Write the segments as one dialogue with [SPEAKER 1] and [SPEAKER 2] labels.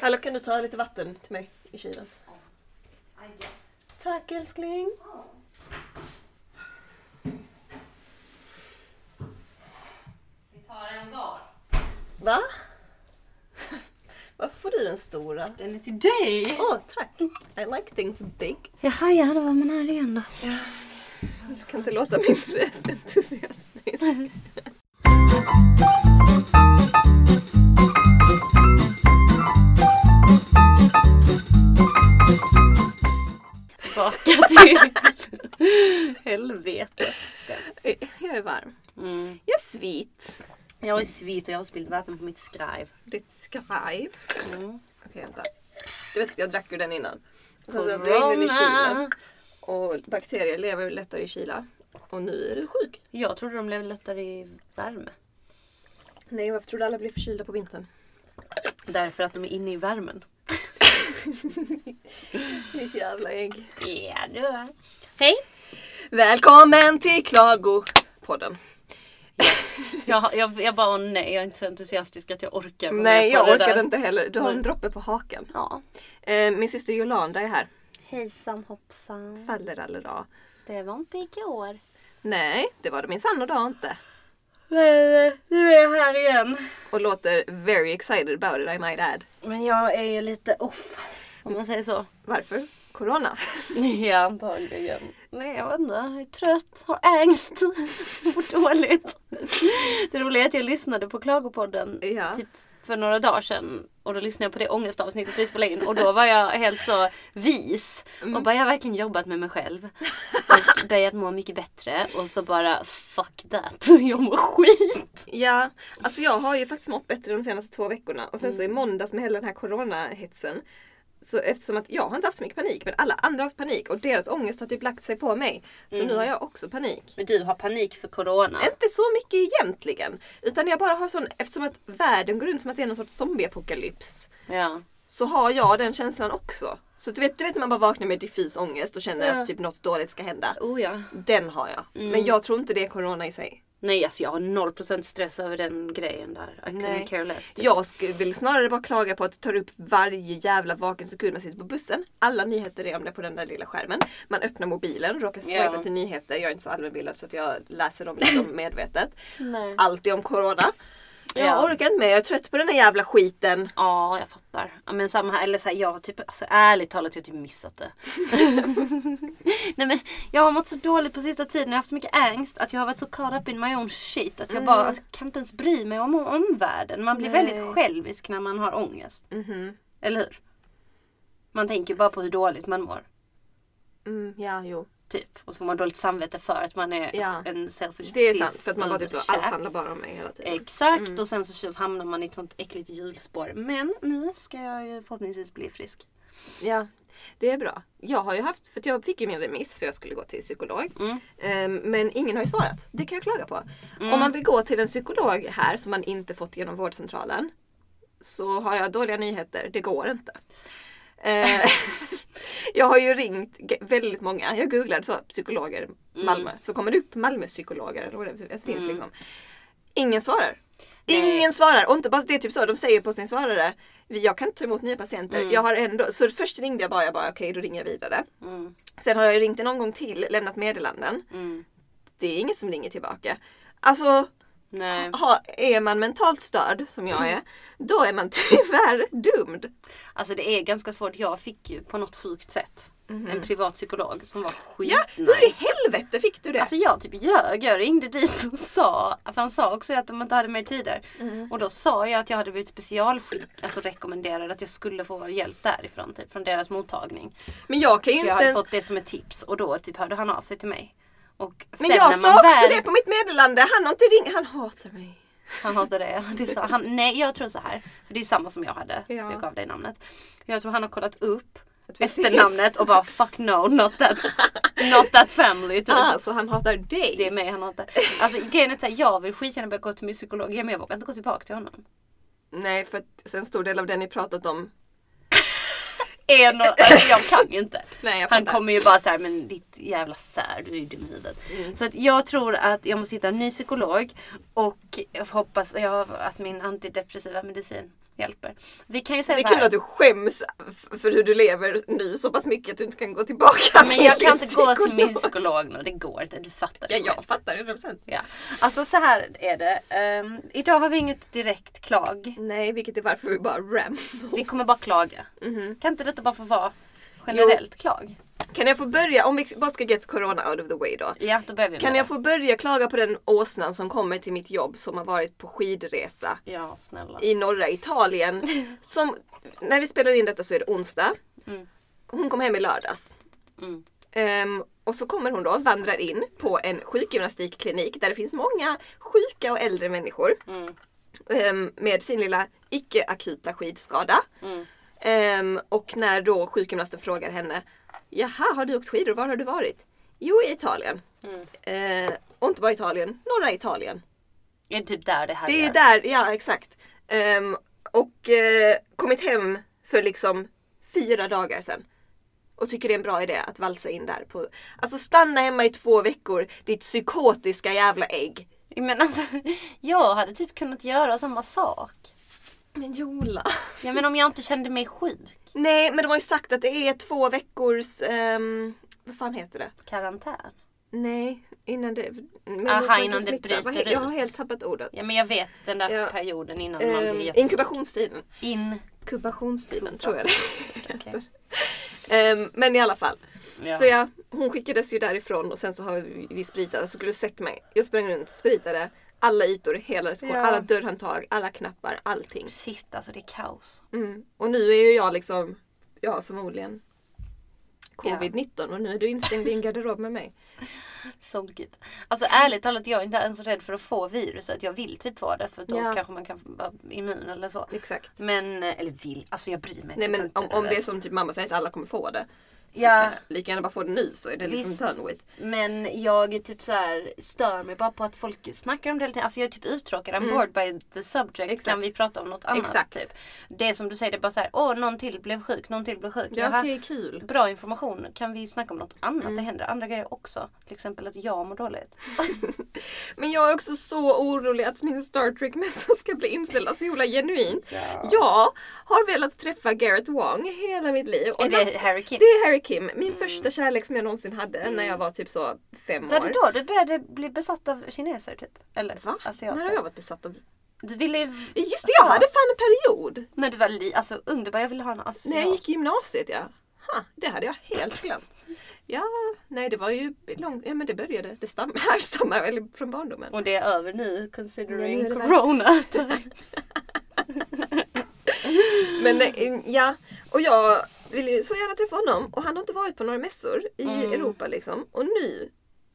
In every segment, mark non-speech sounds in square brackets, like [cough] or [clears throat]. [SPEAKER 1] Hallå kan du ta lite vatten till mig i kylen?
[SPEAKER 2] I guess.
[SPEAKER 1] Tack älskling.
[SPEAKER 2] Oh. Vi tar en var.
[SPEAKER 1] Va? [laughs] Varför får du den stora?
[SPEAKER 2] Den är till dig!
[SPEAKER 1] Åh, tack! I like things big.
[SPEAKER 2] Jaha, ja, då var man här igen då.
[SPEAKER 1] Du kan inte låta mindre entusiastisk.
[SPEAKER 2] Tillbaka till [laughs] helvetet.
[SPEAKER 1] Jag är varm.
[SPEAKER 2] Mm.
[SPEAKER 1] Jag är svit.
[SPEAKER 2] Jag är svit och jag har spillt vatten på mitt skraj.
[SPEAKER 1] Ditt skrajv.
[SPEAKER 2] Mm.
[SPEAKER 1] Okej, vänta. Du vet, jag drack ju den innan. Och sen så drängde den i kylen. Och bakterier lever ju lättare i kyla. Och nu är du sjuk.
[SPEAKER 2] Jag trodde de blev lättare i värme.
[SPEAKER 1] Nej, varför tror du alla blir förkylda på vintern?
[SPEAKER 2] Därför att de är inne i värmen.
[SPEAKER 1] Mitt jävla ägg.
[SPEAKER 2] Ja, du är. Hej!
[SPEAKER 1] Välkommen till Klagopodden.
[SPEAKER 2] Jag, jag, jag bara, åh nej, jag är inte så entusiastisk att jag orkar. vara
[SPEAKER 1] Nej,
[SPEAKER 2] med på
[SPEAKER 1] jag
[SPEAKER 2] det
[SPEAKER 1] orkade
[SPEAKER 2] där.
[SPEAKER 1] inte heller. Du har en
[SPEAKER 2] Nej.
[SPEAKER 1] droppe på hakan.
[SPEAKER 2] Ja.
[SPEAKER 1] Eh, min syster Jolanda är här.
[SPEAKER 2] Hejsan hoppsan.
[SPEAKER 1] Faller alla dag.
[SPEAKER 2] Det var inte igår.
[SPEAKER 1] Nej, det var det minsann och dag inte.
[SPEAKER 2] Men nu är jag här igen.
[SPEAKER 1] Och låter very excited about it I might add.
[SPEAKER 2] Men jag är ju lite off. Om man säger så.
[SPEAKER 1] Varför? Corona.
[SPEAKER 2] [laughs] Ja, antagligen. Nej, jag vet inte. Jag är trött, har ängst, [laughs] mår dåligt. Det roliga är att jag lyssnade på Klagopodden
[SPEAKER 1] Ja.
[SPEAKER 2] typ för några dagar sedan. Och då lyssnade jag på det ångestavsnittet vi spelade in och då var jag helt så vis. Och bara, jag har verkligen jobbat med mig själv. Och börjat må mycket bättre. Och så bara, fuck that. [laughs] Jag mår skit.
[SPEAKER 1] Ja, alltså jag har ju faktiskt mått bättre de senaste två veckorna och sen så i måndags med hela den här coronahetsen så eftersom att jag har inte haft så mycket panik men alla andra har haft panik och deras ångest har typ lagt sig på mig. Så nu har jag också panik.
[SPEAKER 2] Men du har panik för corona.
[SPEAKER 1] Inte så mycket egentligen. Utan jag bara har sån, eftersom att världen går runt som att det är någon sorts zombieapokalyps.
[SPEAKER 2] Ja.
[SPEAKER 1] Så har jag den känslan också. Så du vet, du vet när man bara vaknar med diffus ångest och känner att typ något dåligt ska hända.
[SPEAKER 2] Oh ja.
[SPEAKER 1] Den har jag. Men jag tror inte det är corona i sig.
[SPEAKER 2] Nej alltså jag har 0% stress över den grejen där. I couldn't
[SPEAKER 1] Nej.
[SPEAKER 2] care less. typ.
[SPEAKER 1] Jag sk- vill snarare bara klaga på att det tar upp varje jävla vaken sekund man sitter på bussen. Alla nyheter är om det på den där lilla skärmen. Man öppnar mobilen, råkar swipa
[SPEAKER 2] Ja.
[SPEAKER 1] till nyheter. Jag är inte så allmänbildad så att jag läser dem liksom medvetet.
[SPEAKER 2] Nej.
[SPEAKER 1] Alltid om corona. Jag
[SPEAKER 2] Ja.
[SPEAKER 1] orkar inte mer, jag är trött på den här jävla skiten.
[SPEAKER 2] Ja, jag fattar. Ja, men samma här, eller så här, jag har typ, alltså, ärligt talat, jag har typ missat det. [laughs] Nej men jag har mått så dåligt på sista tiden, jag har haft så mycket ängst att jag har varit så caught up in my own shit att jag bara
[SPEAKER 1] Mm.
[SPEAKER 2] alltså, kan inte ens bry mig om omvärlden. Man blir väldigt självisk när man har ångest.
[SPEAKER 1] Mhm.
[SPEAKER 2] Eller hur? Man tänker bara på hur dåligt man mår.
[SPEAKER 1] Mm, ja, jo.
[SPEAKER 2] Typ. Och så får man dåligt samvete för att man är
[SPEAKER 1] Ja.
[SPEAKER 2] en selfish
[SPEAKER 1] Det är
[SPEAKER 2] piss
[SPEAKER 1] sant. För att man bara typ så, allt
[SPEAKER 2] käft.
[SPEAKER 1] handlar bara om mig hela
[SPEAKER 2] Mm.
[SPEAKER 1] tiden.
[SPEAKER 2] Exakt och sen så hamnar man i ett sånt äckligt hjulspår. Men nu ska jag ju förhoppningsvis bli frisk.
[SPEAKER 1] Ja, det är bra. Jag har ju haft, för att jag fick ju min remiss så jag skulle gå till psykolog. Ehm, Men ingen har ju svarat. Det kan jag klaga på. Om man vill gå till en psykolog här som man inte fått genom vårdcentralen så har jag dåliga nyheter. Det går inte. Eh, [laughs] jag har ju ringt g- väldigt många. Jag googlade så psykologer Malmö. Så kommer det upp Malmö psykologer. Eller vad det det finns liksom. Ingen svarar.
[SPEAKER 2] Nej.
[SPEAKER 1] Ingen svarar! Och inte bara det är typ så, de säger på sin svarare "Vi- Jag kan inte ta emot nya patienter. Jag har ändå, så först ringde jag bara, jag bara okej då ringer jag vidare.
[SPEAKER 2] Mm.
[SPEAKER 1] Sen har jag ju ringt en omgång till, lämnat meddelanden.
[SPEAKER 2] Mm.
[SPEAKER 1] Det är ingen som ringer tillbaka. Alltså,
[SPEAKER 2] Nej.
[SPEAKER 1] ha, är man mentalt störd som jag är, då är man [laughs] tyvärr dumd.
[SPEAKER 2] Alltså det är ganska svårt. Jag fick ju på något sjukt sätt en privat psykolog som var
[SPEAKER 1] Ja, hur i
[SPEAKER 2] skitnice.
[SPEAKER 1] helvete fick du det?
[SPEAKER 2] Alltså jag typ ljög. Jag ringde dit och sa, för han sa också att de inte hade mer tider. Och då sa jag att jag hade blivit specialskick, alltså rekommenderad att jag skulle få hjälp därifrån. Typ från deras mottagning.
[SPEAKER 1] men jag kan ju
[SPEAKER 2] För
[SPEAKER 1] inte
[SPEAKER 2] jag hade
[SPEAKER 1] ens...
[SPEAKER 2] fått det som ett tips och då typ hörde han av sig till mig. Och sen
[SPEAKER 1] Men jag
[SPEAKER 2] när
[SPEAKER 1] sa
[SPEAKER 2] man
[SPEAKER 1] också
[SPEAKER 2] väl...
[SPEAKER 1] det på mitt meddelande, han har inte ringt, han hatar mig.
[SPEAKER 2] Han hatar det. det sa han, nej jag tror så här. För det är samma som jag hade.
[SPEAKER 1] Ja.
[SPEAKER 2] Jag gav dig namnet. Jag tror han har kollat upp
[SPEAKER 1] vi ses.
[SPEAKER 2] efternamnet och bara fuck no not that, not that family. Typ.
[SPEAKER 1] Ah, så han hatar dig?
[SPEAKER 2] Det är mig han hatar. Alltså grejen är så här, jag vill skitgärna börja gå till min psykolog men jag vågar inte gå tillbaka till honom.
[SPEAKER 1] Nej, för att en stor del av det ni pratat om
[SPEAKER 2] Är nå- alltså, jag kan ju inte.
[SPEAKER 1] Nej, jag
[SPEAKER 2] han
[SPEAKER 1] fattar.
[SPEAKER 2] kommer ju bara så här, men ditt jävla sär, du är ju dum i huvudet.
[SPEAKER 1] Mm.
[SPEAKER 2] Så att jag tror att jag måste hitta en ny psykolog och jag hoppas jag, att min antidepressiva medicin hjälper. Vi kan ju säga
[SPEAKER 1] Det
[SPEAKER 2] så
[SPEAKER 1] är
[SPEAKER 2] här.
[SPEAKER 1] kul att du skäms f- för hur du lever nu så pass mycket att du inte kan gå tillbaka
[SPEAKER 2] Men jag
[SPEAKER 1] din
[SPEAKER 2] kan inte gå till
[SPEAKER 1] psykolog.
[SPEAKER 2] min psykolog nu, det går inte. Du fattar
[SPEAKER 1] Ja,
[SPEAKER 2] det själv.
[SPEAKER 1] jag fattar 100%.
[SPEAKER 2] Ja. Alltså så här är det. Ehm, idag har vi inget direkt klag.
[SPEAKER 1] Nej, vilket är varför vi bara ram.
[SPEAKER 2] Vi kommer bara klaga.
[SPEAKER 1] Mm-hmm.
[SPEAKER 2] Kan inte detta bara få vara generellt klag?
[SPEAKER 1] Kan jag få börja, om vi bara ska get corona out of the way då.
[SPEAKER 2] Ja, då börjar vi med
[SPEAKER 1] Kan
[SPEAKER 2] det.
[SPEAKER 1] jag få börja klaga på den åsnan som kommer till mitt jobb som har varit på skidresa
[SPEAKER 2] Ja, snälla.
[SPEAKER 1] i norra Italien. Som, när vi spelar in detta så är det onsdag.
[SPEAKER 2] Mm.
[SPEAKER 1] Hon kom hem i lördags.
[SPEAKER 2] Mm.
[SPEAKER 1] Ehm, och så kommer hon då, vandrar in på en sjukgymnastikklinik där det finns många sjuka och äldre människor.
[SPEAKER 2] Mm.
[SPEAKER 1] ehm, med sin lilla icke-akuta skidskada.
[SPEAKER 2] Mm.
[SPEAKER 1] Ehm, och när då sjukgymnasten frågar henne Jaha, har du åkt skidor? Var har du varit? Jo, i Italien.
[SPEAKER 2] Mm.
[SPEAKER 1] Ehm, och inte bara Italien, norra Italien.
[SPEAKER 2] Är det typ där det här
[SPEAKER 1] Det är
[SPEAKER 2] gör?
[SPEAKER 1] där, ja exakt. Ehm, och eh, kommit hem för liksom fyra dagar sedan. Och tycker det är en bra idé att valsa in där. På, alltså stanna hemma i två veckor, ditt psykotiska jävla ägg.
[SPEAKER 2] Men alltså, [laughs] jag hade typ kunnat göra samma sak.
[SPEAKER 1] Men Jola.
[SPEAKER 2] Ja, men om jag inte kände mig sjuk.
[SPEAKER 1] Nej, men de har ju sagt att det är två veckors... ehm, vad fan heter det?
[SPEAKER 2] Karantän.
[SPEAKER 1] Nej, innan det... men
[SPEAKER 2] Aha,
[SPEAKER 1] måste man inte
[SPEAKER 2] innan det
[SPEAKER 1] smitta. Vad
[SPEAKER 2] bryter
[SPEAKER 1] he- Jag har
[SPEAKER 2] ut.
[SPEAKER 1] helt tappat ordet.
[SPEAKER 2] Ja, men jag vet den där
[SPEAKER 1] Ja.
[SPEAKER 2] perioden innan man
[SPEAKER 1] Ehm,
[SPEAKER 2] blir jätte...
[SPEAKER 1] inkubationstiden.
[SPEAKER 2] In...
[SPEAKER 1] Inkubationstiden tror jag det är.
[SPEAKER 2] [laughs] Okej.
[SPEAKER 1] Ehm, men i alla fall.
[SPEAKER 2] Ja.
[SPEAKER 1] Så ja, hon skickades ju därifrån och sen så har vi- vi spritat. Så skulle du sett mig. Jag sprang runt och spritade alla ytor, hela receptionen,
[SPEAKER 2] Ja.
[SPEAKER 1] alla dörrhandtag, alla knappar, allting.
[SPEAKER 2] Shit, alltså det är kaos.
[SPEAKER 1] Mm. Och nu är ju jag liksom, ja förmodligen covid-19 och nu är du instängd i en garderob med mig.
[SPEAKER 2] Solkigt. Alltså ärligt talat, jag är inte ens rädd för att få viruset. Jag vill typ få det för då
[SPEAKER 1] Ja.
[SPEAKER 2] kanske man kan vara immun eller så.
[SPEAKER 1] Exakt.
[SPEAKER 2] Men, eller vill, alltså jag bryr mig
[SPEAKER 1] Nej
[SPEAKER 2] typ
[SPEAKER 1] men
[SPEAKER 2] inte,
[SPEAKER 1] om,
[SPEAKER 2] du
[SPEAKER 1] om det är
[SPEAKER 2] vet.
[SPEAKER 1] som typ mamma säger att alla kommer få det. Så
[SPEAKER 2] Ja.
[SPEAKER 1] kan jag lika gärna bara få det nu så är det
[SPEAKER 2] Visst.
[SPEAKER 1] liksom done with.
[SPEAKER 2] Men jag är typ så här, stör mig bara på att folk snackar om det hela tiden. Alltså jag är typ uttråkad. I'm bored by the subject.
[SPEAKER 1] Mm. Exakt.
[SPEAKER 2] Kan vi prata om något annat?
[SPEAKER 1] Exakt.
[SPEAKER 2] Typ. Det är som du säger, det är bara så här, åh någon till blev sjuk, någon till blev sjuk.
[SPEAKER 1] Ja
[SPEAKER 2] Jaha,
[SPEAKER 1] okej Mm. kul.
[SPEAKER 2] Bra information. Kan vi snacka om något annat? Det händer andra grejer också. Till exempel att jag mår dåligt.
[SPEAKER 1] Men jag är också så orolig att min Star Trek-mässa ska bli inställd. Alltså Jola, genuint.
[SPEAKER 2] Ja.
[SPEAKER 1] Jag har velat träffa Garrett Wong hela mitt liv. Och
[SPEAKER 2] är
[SPEAKER 1] när-
[SPEAKER 2] det Mm. Harry Kim?
[SPEAKER 1] det är Harry Kim, min första kärlek som jag någonsin hade när jag var typ så fem
[SPEAKER 2] Var
[SPEAKER 1] år.
[SPEAKER 2] det då Mm. du började bli besatt av kineser typ? Eller
[SPEAKER 1] Va?
[SPEAKER 2] asiater?
[SPEAKER 1] när har jag varit besatt av...
[SPEAKER 2] Du ville ju...
[SPEAKER 1] Just det, jag hade fan en period!
[SPEAKER 2] När du var li... alltså, ung, du bara jag ville ha en asiat.
[SPEAKER 1] När jag gick i gymnasiet ja. Ha, det hade jag helt glömt. Ja, nej det var ju långt, ja men det började, det stam, [laughs] härstammar väl från barndomen.
[SPEAKER 2] Och det är över nu
[SPEAKER 1] Ja,
[SPEAKER 2] considering
[SPEAKER 1] nu är det väl-
[SPEAKER 2] corona.
[SPEAKER 1] [laughs] Men eh, ja, och jag vill ju så gärna träffa honom och han har inte varit på några mässor i Europa liksom. Och nu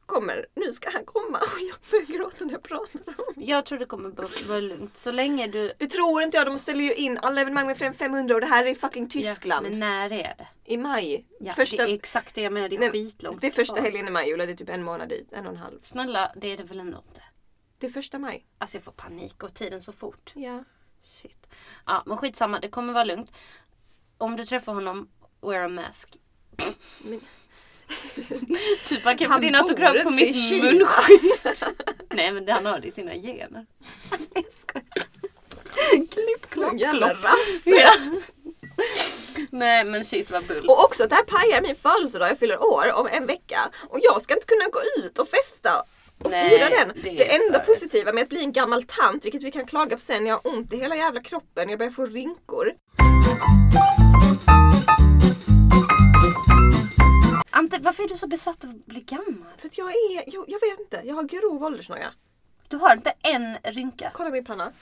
[SPEAKER 1] kommer, nu ska han komma [laughs] och jag börjar gråta när jag pratar om det.
[SPEAKER 2] jag tror det kommer b- vara lugnt. Så länge du...
[SPEAKER 1] Det tror inte jag, de ställer ju in alla evenemang med fler än 500 och det här är i fucking Tyskland.
[SPEAKER 2] Ja, men när är det?
[SPEAKER 1] I maj.
[SPEAKER 2] Ja,
[SPEAKER 1] första,
[SPEAKER 2] Det är exakt det jag menar, det är
[SPEAKER 1] nej,
[SPEAKER 2] skitlångt
[SPEAKER 1] det är första
[SPEAKER 2] kvar.
[SPEAKER 1] helgen i maj, Julia, det är typ en månad dit, en och en halv.
[SPEAKER 2] Snälla, det är det väl ändå inte?
[SPEAKER 1] Det är första maj.
[SPEAKER 2] Alltså jag får panik och tiden så fort.
[SPEAKER 1] Ja.
[SPEAKER 2] Shit. Ja, men skitsamma, det kommer vara lugnt. Om du träffar honom, wear a mask.
[SPEAKER 1] Men-
[SPEAKER 2] typ han kan få
[SPEAKER 1] Han
[SPEAKER 2] din
[SPEAKER 1] bor
[SPEAKER 2] autograf på
[SPEAKER 1] inte i
[SPEAKER 2] mitt
[SPEAKER 1] Kina.
[SPEAKER 2] [laughs] munskydd. Nej men det han har det i sina gener. Klipp,
[SPEAKER 1] Någon jävla
[SPEAKER 2] klopp.
[SPEAKER 1] rasse.
[SPEAKER 2] Ja. Nej men shit vad bull.
[SPEAKER 1] Och också att det här pajar min födelsedag, jag fyller år om en vecka. Och jag ska inte kunna gå ut och festa och
[SPEAKER 2] Nej,
[SPEAKER 1] fira den.
[SPEAKER 2] det
[SPEAKER 1] Det,
[SPEAKER 2] är
[SPEAKER 1] enda
[SPEAKER 2] störigt.
[SPEAKER 1] positiva med att bli en gammal tant, vilket vi kan klaga på sen, jag har ont i hela jävla kroppen, jag börjar få rynkor.
[SPEAKER 2] Ante, varför är du så besatt av att bli gammal?
[SPEAKER 1] För att jag är, jag, jag vet inte, jag har grov åldersnoja.
[SPEAKER 2] Du har inte en rynka.
[SPEAKER 1] Kolla min panna.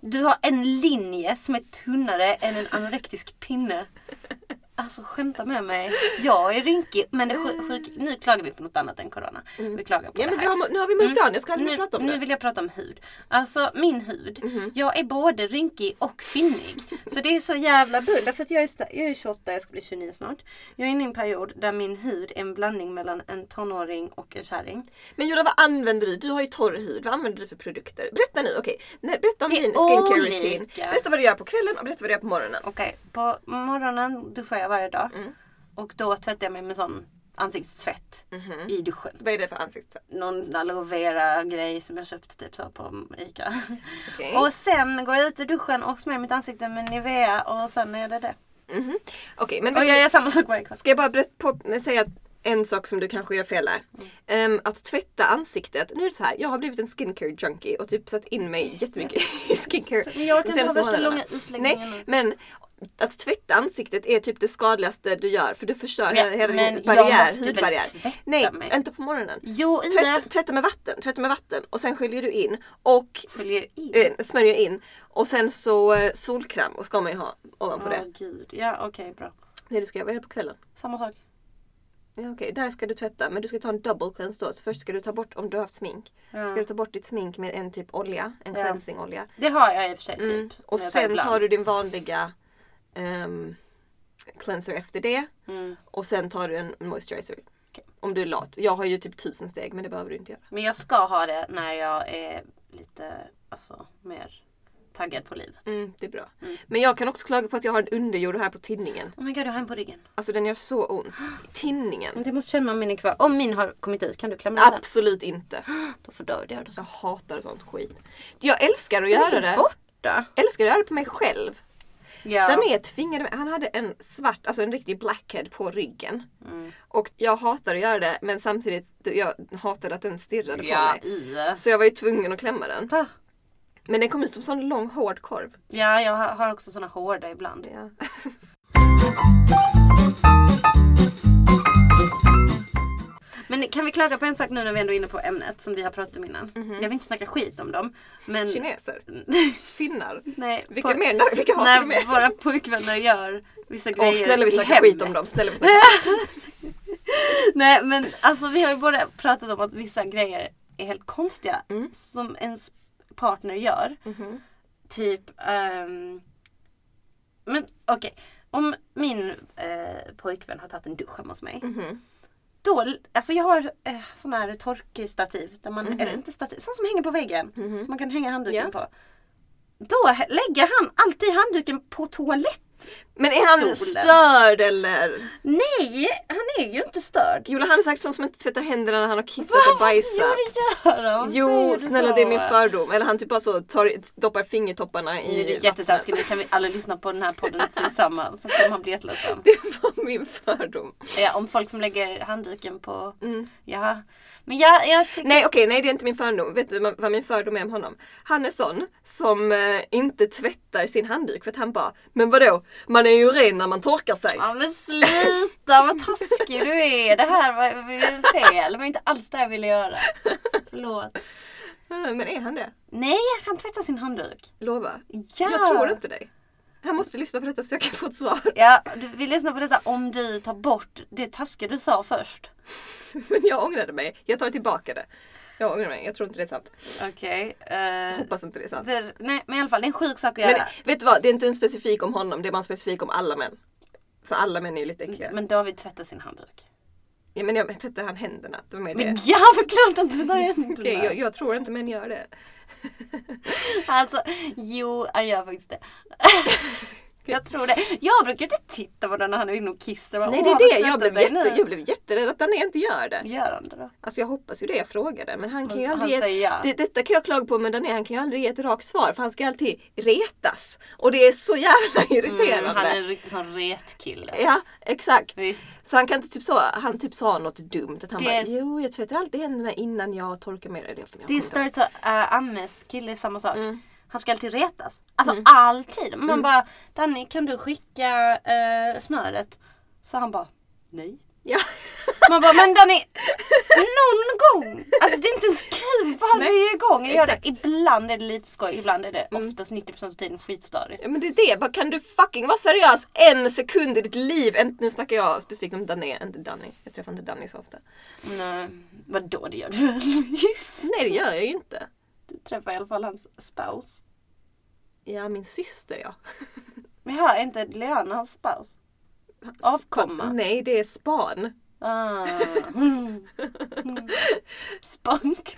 [SPEAKER 2] Du har en linje som är tunnare än en anorektisk pinne. Alltså skämta med mig. Jag är rynkig men det är sjuk, sjuk. nu klagar vi på något annat än corona. Mm. Vi klagar på
[SPEAKER 1] Ja
[SPEAKER 2] det
[SPEAKER 1] men vi
[SPEAKER 2] här.
[SPEAKER 1] har, nu har vi
[SPEAKER 2] Mm.
[SPEAKER 1] mörkt dagen, jag ska aldrig
[SPEAKER 2] Nu,
[SPEAKER 1] mer prata om
[SPEAKER 2] nu
[SPEAKER 1] det. Mhm.
[SPEAKER 2] vill jag prata om hud. Alltså min hud. Jag är både rynkig och finnig. Så det är så jävla bull. Därför att jag är, sta- jag är 28, jag ska bli 29 snart. Jag är inne i en period där min hud är en blandning mellan en tonåring och en kärring.
[SPEAKER 1] Men Jura vad använder du? Du har ju torr hud, vad använder du för produkter? Berätta nu, okej. Nej, Berätta om
[SPEAKER 2] Det är
[SPEAKER 1] din skincare routine.
[SPEAKER 2] olika.
[SPEAKER 1] Berätta vad du gör på kvällen och berätta vad du gör på morgonen. Mm.
[SPEAKER 2] Okej, på morgonen duschar jag varje dag. Och då tvättar jag mig med sån ansiktstvätt
[SPEAKER 1] Mhm.
[SPEAKER 2] i duschen.
[SPEAKER 1] Vad är det för ansiktstvätt?
[SPEAKER 2] någon aloe vera grej som jag köpt typ så på ICA.
[SPEAKER 1] Okej.
[SPEAKER 2] Och sen går jag ut ur duschen och smörjer mitt ansikte med Nivea och sen är det det.
[SPEAKER 1] Mhm. Okej, men
[SPEAKER 2] Och
[SPEAKER 1] vet
[SPEAKER 2] jag
[SPEAKER 1] du-
[SPEAKER 2] gör samma sak varje kväll.
[SPEAKER 1] ska jag bara berätta på, säga en sak som du kanske gör fel där. Ehm, att tvätta ansiktet. Nu är det så här, jag har blivit en skincare junkie och typ satt in mig
[SPEAKER 2] [laughs]
[SPEAKER 1] jättemycket i skincare.
[SPEAKER 2] Men jag orkar
[SPEAKER 1] de
[SPEAKER 2] inte ha
[SPEAKER 1] senaste
[SPEAKER 2] värsta
[SPEAKER 1] månaderna.
[SPEAKER 2] långa utläggningar
[SPEAKER 1] Nej,
[SPEAKER 2] nu.
[SPEAKER 1] men att tvätta ansiktet är typ det skadligaste du gör för du förstör
[SPEAKER 2] Men-
[SPEAKER 1] hela- hela
[SPEAKER 2] men
[SPEAKER 1] din
[SPEAKER 2] jag
[SPEAKER 1] barriär,
[SPEAKER 2] måste väl
[SPEAKER 1] hudbarriär.
[SPEAKER 2] tvätta
[SPEAKER 1] Nej,
[SPEAKER 2] mig?
[SPEAKER 1] inte på morgonen.
[SPEAKER 2] Jo, inte.
[SPEAKER 1] Tvätta, tvätta med vatten, tvätta med vatten och sen sköljer du in och
[SPEAKER 2] Sköljer in?
[SPEAKER 1] eh, smörjer in och sen så eh, solkräm och ska man ju ha ovanpå
[SPEAKER 2] Åh
[SPEAKER 1] det.
[SPEAKER 2] gud. Ja okej bra.
[SPEAKER 1] Det du ska göra, vad gör du på kvällen?
[SPEAKER 2] Samma sak.
[SPEAKER 1] Ja, Okej, där ska du tvätta men du ska ta en double cleanse då. Så först ska du ta bort, om du har haft smink,
[SPEAKER 2] Ja.
[SPEAKER 1] ska du ta bort ditt smink med en typ olja, en
[SPEAKER 2] Ja.
[SPEAKER 1] cleansingolja.
[SPEAKER 2] Det har jag i och för sig typ.
[SPEAKER 1] Mm.
[SPEAKER 2] Men
[SPEAKER 1] Och
[SPEAKER 2] jag
[SPEAKER 1] sen
[SPEAKER 2] ibland.
[SPEAKER 1] tar du din vanliga ehm, cleanser efter det.
[SPEAKER 2] Mm.
[SPEAKER 1] Och sen tar du en moisturizer.
[SPEAKER 2] Okej.
[SPEAKER 1] Om du är lat. Jag har ju typ tusen steg men det behöver du inte göra.
[SPEAKER 2] Men jag ska ha det när jag är lite alltså mer taggad på livet.
[SPEAKER 1] Mm, det är bra. Men jag kan också klaga på att jag har en underjord här på tinningen.
[SPEAKER 2] Oh my god jag har en på ryggen.
[SPEAKER 1] Alltså den gör så ont. Tinningen?
[SPEAKER 2] [gasps] Men det måste känna om min är kvar. Om min har kommit ut kan du klämma ut den?
[SPEAKER 1] Absolut inte.
[SPEAKER 2] Då fördör jag det.
[SPEAKER 1] Jag hatar sånt skit. Jag älskar att
[SPEAKER 2] Den är
[SPEAKER 1] göra
[SPEAKER 2] typ
[SPEAKER 1] det.
[SPEAKER 2] borta.
[SPEAKER 1] Älskar att göra det på mig själv.
[SPEAKER 2] Ja.
[SPEAKER 1] Den är tvingad. Han hade en svart, alltså en riktig blackhead på ryggen.
[SPEAKER 2] Mm.
[SPEAKER 1] Och jag hatar att göra det men samtidigt jag hatade att den stirrade
[SPEAKER 2] Ja,
[SPEAKER 1] på mig.
[SPEAKER 2] i.
[SPEAKER 1] Så jag var ju tvungen att klämma den.
[SPEAKER 2] Va?
[SPEAKER 1] Men den kom ut som sån lång hård korv.
[SPEAKER 2] Ja, jag har- har också såna hårda ibland.
[SPEAKER 1] Ja.
[SPEAKER 2] Men kan vi klaga på en sak nu när vi ändå är inne på ämnet som vi har pratat om innan?
[SPEAKER 1] Mhm.
[SPEAKER 2] Jag vill inte snacka skit om dem. Men...
[SPEAKER 1] Kineser. Finnar.
[SPEAKER 2] [laughs] Nej,
[SPEAKER 1] Vilka
[SPEAKER 2] på-
[SPEAKER 1] mer? När, vilka hatar
[SPEAKER 2] När
[SPEAKER 1] du mer?
[SPEAKER 2] våra pojkvänner gör vissa grejer
[SPEAKER 1] Åh snälla vi
[SPEAKER 2] i
[SPEAKER 1] snackar
[SPEAKER 2] hemmet.
[SPEAKER 1] skit om dem. Snälla vi snackar.
[SPEAKER 2] Nej men alltså vi har ju båda pratat om att vissa grejer är helt konstiga
[SPEAKER 1] Mm.
[SPEAKER 2] som ens partner gör. Typ ehm, Men okej. Om min eh, pojkvän har tagit en dusch hemma hos
[SPEAKER 1] Mm.
[SPEAKER 2] mig. Då, alltså jag har eh, sån här torkstativ. Där man,
[SPEAKER 1] Mhm.
[SPEAKER 2] Eller inte stativ, sånt som hänger på väggen. Som man kan hänga handduken
[SPEAKER 1] Mm. Ja.
[SPEAKER 2] på. Då hä- lägger han alltid handduken på toalett.
[SPEAKER 1] Men är han
[SPEAKER 2] Stolen.
[SPEAKER 1] störd eller?
[SPEAKER 2] Nej, han är ju inte störd.
[SPEAKER 1] Jola han är säkert sån som inte tvättar händerna när han har kissat och
[SPEAKER 2] Jo,
[SPEAKER 1] bajsat.
[SPEAKER 2] det gör han. Säger
[SPEAKER 1] Jo
[SPEAKER 2] du
[SPEAKER 1] snälla
[SPEAKER 2] så?
[SPEAKER 1] det är min fördom. Eller han typ bara så tar, doppar fingertopparna
[SPEAKER 2] Det
[SPEAKER 1] i
[SPEAKER 2] är
[SPEAKER 1] vattnet.
[SPEAKER 2] jättetaskigt, nu kan vi alla lyssna på den här podden [laughs] tillsammans så kommer han bli jätteledsen.
[SPEAKER 1] [laughs] Det var min fördom.
[SPEAKER 2] Ja, om folk som lägger handduken på...
[SPEAKER 1] Mm.
[SPEAKER 2] Jaha. Men jag, jag tycker...
[SPEAKER 1] Nej okej, nej det är inte min fördom. Vet du vad min fördom är om honom? Han är sån som eh, inte tvättar sin handduk för att han bara Men vadå, man är ju ren när man torkar sig.
[SPEAKER 2] Ja men sluta vad taskig du är! Det här var var fel, det var inte alls det jag ville göra. Förlåt.
[SPEAKER 1] Eh, Men är han det?
[SPEAKER 2] Nej, han tvättar sin handduk.
[SPEAKER 1] Lova.
[SPEAKER 2] Ja.
[SPEAKER 1] Jag tror inte dig. Han måste lyssna på detta så jag kan få ett svar.
[SPEAKER 2] Ja, du, vi lyssnar på detta om du tar bort det taskiga du sa först.
[SPEAKER 1] [laughs] Men jag ångrade mig. Jag tar tillbaka det. Jag ångrar mig. Jag tror inte det är sant.
[SPEAKER 2] Okej.
[SPEAKER 1] Jag
[SPEAKER 2] eh,
[SPEAKER 1] hoppas inte det är sant.
[SPEAKER 2] [laughs] det- nej men i alla fall, det är en sjuk sak att göra.
[SPEAKER 1] Men vet du vad? Det är inte en specifik om honom. Det är bara en specifik om alla män. För alla män är ju lite äckliga.
[SPEAKER 2] Men David tvättar sin handduk.
[SPEAKER 1] Ja, men jag tvättar han händerna. Det var mer det.
[SPEAKER 2] Men [laughs] ja, förklart att det där är
[SPEAKER 1] [laughs] Okej, jag, jag tror inte män gör det.
[SPEAKER 2] Alltså, jo, han gör faktiskt det. jag tror det. Jag brukar inte titta på den när han är inne och kissar. Bara,
[SPEAKER 1] Nej
[SPEAKER 2] "Åh,
[SPEAKER 1] det
[SPEAKER 2] har du
[SPEAKER 1] är det. Jag
[SPEAKER 2] tvättat
[SPEAKER 1] blev,
[SPEAKER 2] dig
[SPEAKER 1] jätte,
[SPEAKER 2] nu?"
[SPEAKER 1] jag blev jätterädd att han inte gör det.
[SPEAKER 2] Gör han det då?
[SPEAKER 1] Alltså jag hoppas ju det, jag frågade. Men han kan ju
[SPEAKER 2] Han- han
[SPEAKER 1] aldrig... ge-
[SPEAKER 2] säger Alltså, ja.
[SPEAKER 1] det, detta kan jag klaga på men Dané, han kan ju aldrig ge ett rakt svar för han ska ju alltid retas. Och det är så jävla
[SPEAKER 2] Mm,
[SPEAKER 1] irriterande.
[SPEAKER 2] han är en riktig sån retkille.
[SPEAKER 1] Ja, exakt.
[SPEAKER 2] Visst.
[SPEAKER 1] Så han kan inte typ så, han typ sa något dumt. Att han
[SPEAKER 2] Det
[SPEAKER 1] bara,
[SPEAKER 2] är-
[SPEAKER 1] jo jag tvättar alltid händerna innan jag torkar mig. Eller, jag kommer
[SPEAKER 2] Det är
[SPEAKER 1] inte ihåg.
[SPEAKER 2] stört så, äh, Ammes kille är samma sak. Han ska alltid retas. Alltså
[SPEAKER 1] Mm.
[SPEAKER 2] alltid. Man bara, Danny kan du skicka eh, smöret? Så han bara, nej.
[SPEAKER 1] Ja. [laughs]
[SPEAKER 2] Man bara, men Danny, någon gång! Alltså det är inte ens kul varje gång jag gör det. Ibland är det lite skoj, ibland är det
[SPEAKER 1] Mm.
[SPEAKER 2] oftast 90% av tiden skitstörigt.
[SPEAKER 1] Ja, Men det är det, bara, kan du fucking vara seriös en sekund i ditt liv? En, nu snackar jag specifikt om Dané, inte Danny. Jag träffar inte Danny så ofta.
[SPEAKER 2] Nej, vadå det gör du väl Louise?
[SPEAKER 1] Nej det gör jag ju inte.
[SPEAKER 2] Du träffar i alla fall hans spouse.
[SPEAKER 1] Ja, min syster ja.
[SPEAKER 2] Men jag är inte Leana hans spouse? Avkomma.
[SPEAKER 1] Nej, det är span.
[SPEAKER 2] [laughs] Ah. Mm. Mm. Spunk.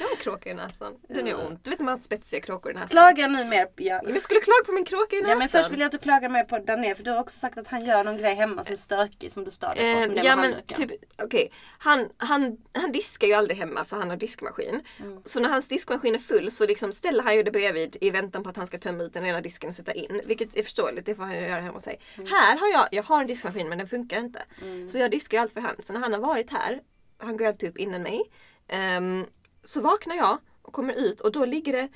[SPEAKER 1] Jag har en kråka i näsan. Den gör ont. Du vet när man har spetsiga kråkor i näsan.
[SPEAKER 2] Klaga nu mer. Ja.
[SPEAKER 1] Ja, men jag skulle klaga på min kråka i näsan.
[SPEAKER 2] Ja, men först vill jag att du klagar mer på Dané för du har också sagt att han gör någon grej hemma som är stökig som du stör dig på. liksom, Som
[SPEAKER 1] Eh,
[SPEAKER 2] det
[SPEAKER 1] ja
[SPEAKER 2] med
[SPEAKER 1] men
[SPEAKER 2] handduken.
[SPEAKER 1] typ, okej. Han, han, han diskar ju aldrig hemma för han har diskmaskin.
[SPEAKER 2] Mm.
[SPEAKER 1] Så när hans diskmaskin är full så liksom ställer han ju det bredvid i väntan på att han ska tömma ut den ena disken och sätta in. Vilket är förståeligt, det får han ju göra hemma hos sig.
[SPEAKER 2] Mm.
[SPEAKER 1] Här har jag, jag har en diskmaskin men den funkar inte. Så jag diskar ju allt för hand. Så när han har varit här, han går ju alltid upp innan mig. ehm, så vaknar jag och kommer ut och då ligger det,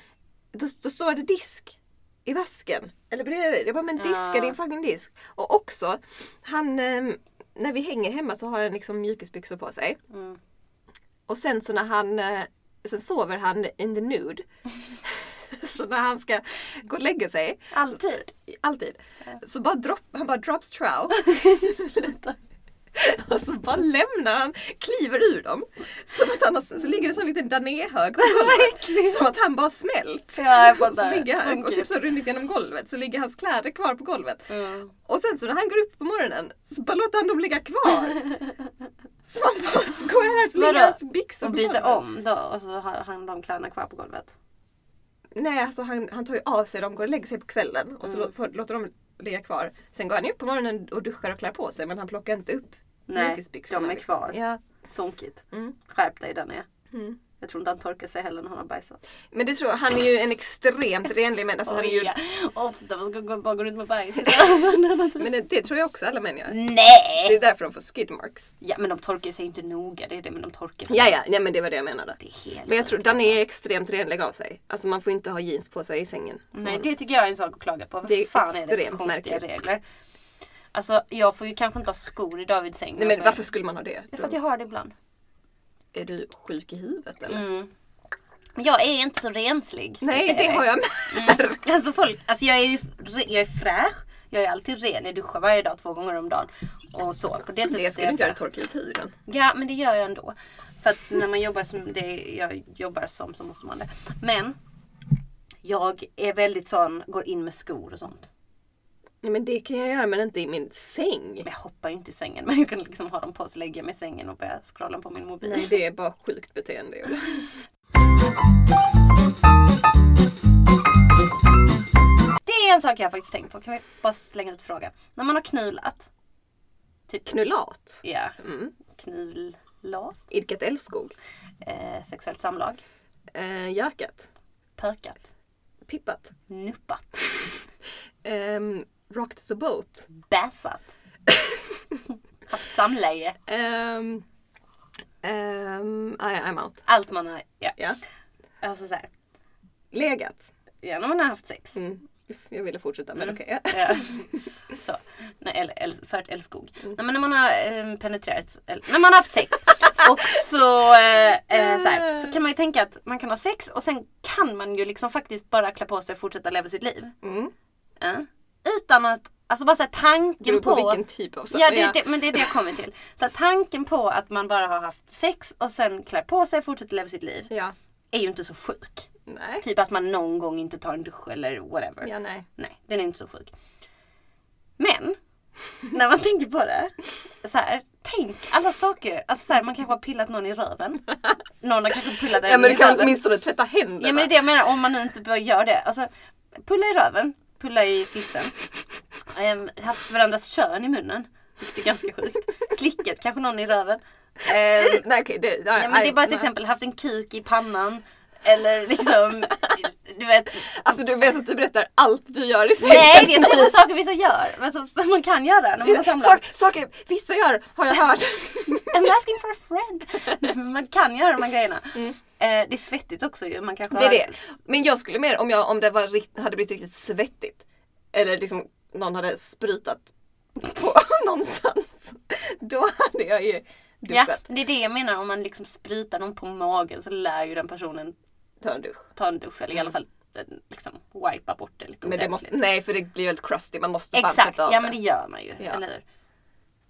[SPEAKER 1] då, då står det disk i vasken. Eller bredvid. Jag bara, men diska
[SPEAKER 2] Ja.
[SPEAKER 1] din fucking disk. Och också, han, ehm, när vi hänger hemma så har han liksom mjukisbyxor på sig.
[SPEAKER 2] Mm.
[SPEAKER 1] Och sen så när han, eh, sen sover han in the nude. [laughs] så när han ska gå och lägga sig,
[SPEAKER 2] Alltid.
[SPEAKER 1] alltid, så bara dropp, han bara drops
[SPEAKER 2] [laughs]
[SPEAKER 1] trow. Och så bara lämnar han, kliver ur dem. Som att han har, så ligger det en sån liten danéhög på golvet. Som att han bara smält.
[SPEAKER 2] Ja, jag
[SPEAKER 1] Så
[SPEAKER 2] fattar.
[SPEAKER 1] ligger han, och typ
[SPEAKER 2] Sunkigt.
[SPEAKER 1] så runnit genom golvet så ligger hans kläder kvar på golvet.
[SPEAKER 2] Mm.
[SPEAKER 1] Och sen så när han går upp på morgonen så bara låter han dem ligga
[SPEAKER 2] [laughs]
[SPEAKER 1] kvar. Så man bara så går jag här så ligger
[SPEAKER 2] Vadå?
[SPEAKER 1] hans byxor
[SPEAKER 2] Och
[SPEAKER 1] på
[SPEAKER 2] byter
[SPEAKER 1] golvet.
[SPEAKER 2] om då och så har han de kläderna kvar på golvet.
[SPEAKER 1] Nej alltså han, han tar ju av sig dem, går och lägger sig på kvällen och så
[SPEAKER 2] Mm.
[SPEAKER 1] lå- får, låter de ligga kvar. Sen går han ju upp på morgonen och duschar och klär på sig men han plockar inte upp
[SPEAKER 2] Nej,
[SPEAKER 1] mjukisbyxorna,
[SPEAKER 2] de är
[SPEAKER 1] liksom.
[SPEAKER 2] kvar.
[SPEAKER 1] Ja.
[SPEAKER 2] Sunkigt.
[SPEAKER 1] Mm.
[SPEAKER 2] Skärp dig Dané.
[SPEAKER 1] Mm.
[SPEAKER 2] Jag tror inte han torkar sig heller när han har bajsat.
[SPEAKER 1] Men det tror jag, han är ju en extremt renlig människa. Alltså, han är ju,
[SPEAKER 2] Ofta man ska gå, bara gå runt
[SPEAKER 1] [laughs]
[SPEAKER 2] med bajs.
[SPEAKER 1] men det, det tror jag också alla män gör. Det
[SPEAKER 2] Nej!
[SPEAKER 1] är därför de får skidmarks.
[SPEAKER 2] Ja men de torkar sig inte noga, det är det men de torkar
[SPEAKER 1] Ja, ja, nej, men det var det jag menade.
[SPEAKER 2] Det är helt
[SPEAKER 1] Men jag tror Danny är extremt renlig av sig. Alltså man får inte ha jeans på sig i sängen.
[SPEAKER 2] Nej det tycker jag är en sak att klaga på. Vad
[SPEAKER 1] Det är
[SPEAKER 2] fan är det för
[SPEAKER 1] extremt
[SPEAKER 2] konstiga
[SPEAKER 1] märkligt.
[SPEAKER 2] regler? Alltså jag får ju kanske inte ha skor i Davids säng.
[SPEAKER 1] Nej men varför skulle man ha det?
[SPEAKER 2] Det är för att jag har det ibland.
[SPEAKER 1] Är du sjuk i huvudet eller?
[SPEAKER 2] Mm. Men Jag är inte så renslig. ska
[SPEAKER 1] Nej
[SPEAKER 2] jag säga
[SPEAKER 1] Alltså, det
[SPEAKER 2] dig.
[SPEAKER 1] har jag
[SPEAKER 2] Mm. [laughs] Alltså folk, alltså jag är ju re- jag är fräsch. Jag är alltid ren. Jag duschar varje dag två gånger om dagen. Och så. På det
[SPEAKER 1] [laughs]
[SPEAKER 2] sättet
[SPEAKER 1] Det
[SPEAKER 2] är
[SPEAKER 1] skulle du
[SPEAKER 2] jag
[SPEAKER 1] inte göra,
[SPEAKER 2] fräsch.
[SPEAKER 1] torka ut huden.
[SPEAKER 2] Ja men det gör jag ändå. För att när man jobbar som det jag jobbar som så måste man det. Men jag är väldigt sån, går in med skor och sånt.
[SPEAKER 1] Nej men det kan jag göra men inte i min säng.
[SPEAKER 2] Men jag hoppar ju inte i sängen [laughs] men jag kan liksom ha dem på så lägger jag mig i sängen och börjar scrolla på min mobil.
[SPEAKER 1] Nej det är bara sjukt beteende.
[SPEAKER 2] Det är en sak jag har faktiskt tänkt på. Kan vi bara slänga ut frågan. När man har knulat. Typ
[SPEAKER 1] Knullat.
[SPEAKER 2] ja,
[SPEAKER 1] Mm.
[SPEAKER 2] knullat.
[SPEAKER 1] Idkat älskog.
[SPEAKER 2] Eh, sexuellt samlag.
[SPEAKER 1] Eh, gökat.
[SPEAKER 2] Pökat.
[SPEAKER 1] Pippat.
[SPEAKER 2] Nuppat.
[SPEAKER 1] Ehm, rocked the boat. [laughs]
[SPEAKER 2] Bäsat. haft samleje.
[SPEAKER 1] Ehm, ehm, I, I'm out.
[SPEAKER 2] Allt man har... Ja.
[SPEAKER 1] Ja.
[SPEAKER 2] Alltså såhär.
[SPEAKER 1] Legat.
[SPEAKER 2] Ja, när man har haft sex.
[SPEAKER 1] Mm. Jag ville fortsätta men okej.
[SPEAKER 2] Ja. [laughs] Så. Nej, eller, eller, för ett älskog. Nej, men när man har eh, penetrerat, eller, när man har
[SPEAKER 1] [laughs]
[SPEAKER 2] haft sex. och så, eh, eh, så, här, så kan man ju tänka att man kan ha sex och sen kan man ju liksom faktiskt bara klä på sig och fortsätta leva sitt liv.
[SPEAKER 1] Mm.
[SPEAKER 2] Ja. Utan att, alltså bara så här, tanken
[SPEAKER 1] Beror
[SPEAKER 2] på...
[SPEAKER 1] på vilken typ av
[SPEAKER 2] Ja, det, är Det, men det är det jag kommer till. Så här, tanken på att man bara har haft sex och sen klär på sig och fortsätter leva sitt liv
[SPEAKER 1] Ja.
[SPEAKER 2] är ju inte så sjuk.
[SPEAKER 1] Nej.
[SPEAKER 2] Typ att man någon gång inte tar en dusch eller whatever.
[SPEAKER 1] Ja, nej.
[SPEAKER 2] Nej, den är inte så sjuk. Men, när man tänker på det. Så här, tänk alla saker. Alltså så här, man kanske har pillat någon i röven. Någon har kanske pillat en
[SPEAKER 1] Ja men
[SPEAKER 2] i
[SPEAKER 1] du kan
[SPEAKER 2] röven.
[SPEAKER 1] åtminstone tvätta händerna.
[SPEAKER 2] Ja men det är det jag menar, om man nu inte bör göra det. Alltså, pulla i röven, pulla i fissen. Ehm, haft varandras kön i munnen. Vilket är ganska sjukt. Slicket, kanske någon i röven. Ehm,
[SPEAKER 1] [laughs] Nej okej, det, nej,
[SPEAKER 2] ja, men det är bara ett
[SPEAKER 1] nej.
[SPEAKER 2] exempel, haft en kuk i pannan. Eller liksom, du vet.
[SPEAKER 1] Alltså du vet att du berättar allt du gör i sängen.
[SPEAKER 2] Nej det är sådana saker vissa gör. Men som, som man kan göra när
[SPEAKER 1] [laughs]
[SPEAKER 2] man har samlag.
[SPEAKER 1] Sak, saker vissa gör har jag
[SPEAKER 2] [laughs]
[SPEAKER 1] hört.
[SPEAKER 2] I'm asking for a friend. [laughs] Nej, men man kan göra de här grejerna. Eh, det är svettigt också ju. Man kanske
[SPEAKER 1] Mm. det är
[SPEAKER 2] har-
[SPEAKER 1] det. Men jag skulle mer om, jag, om det var, rikt- hade blivit riktigt svettigt. Eller liksom någon hade sprutat på [laughs] någonstans. Då hade jag ju
[SPEAKER 2] Ja,
[SPEAKER 1] duschat.
[SPEAKER 2] det är det jag menar. Om man liksom sprutar någon på magen så lär ju den personen
[SPEAKER 1] Ta en dusch.
[SPEAKER 2] ta en dusch eller i alla fall eh, liksom wipa bort det lite
[SPEAKER 1] Mm. Men det
[SPEAKER 2] ordentligt.
[SPEAKER 1] måste, nej för det blir helt crusty. Man måste fan
[SPEAKER 2] Exakt,
[SPEAKER 1] tvätta av
[SPEAKER 2] ja men det gör man ju.
[SPEAKER 1] Ja.
[SPEAKER 2] Eller hur?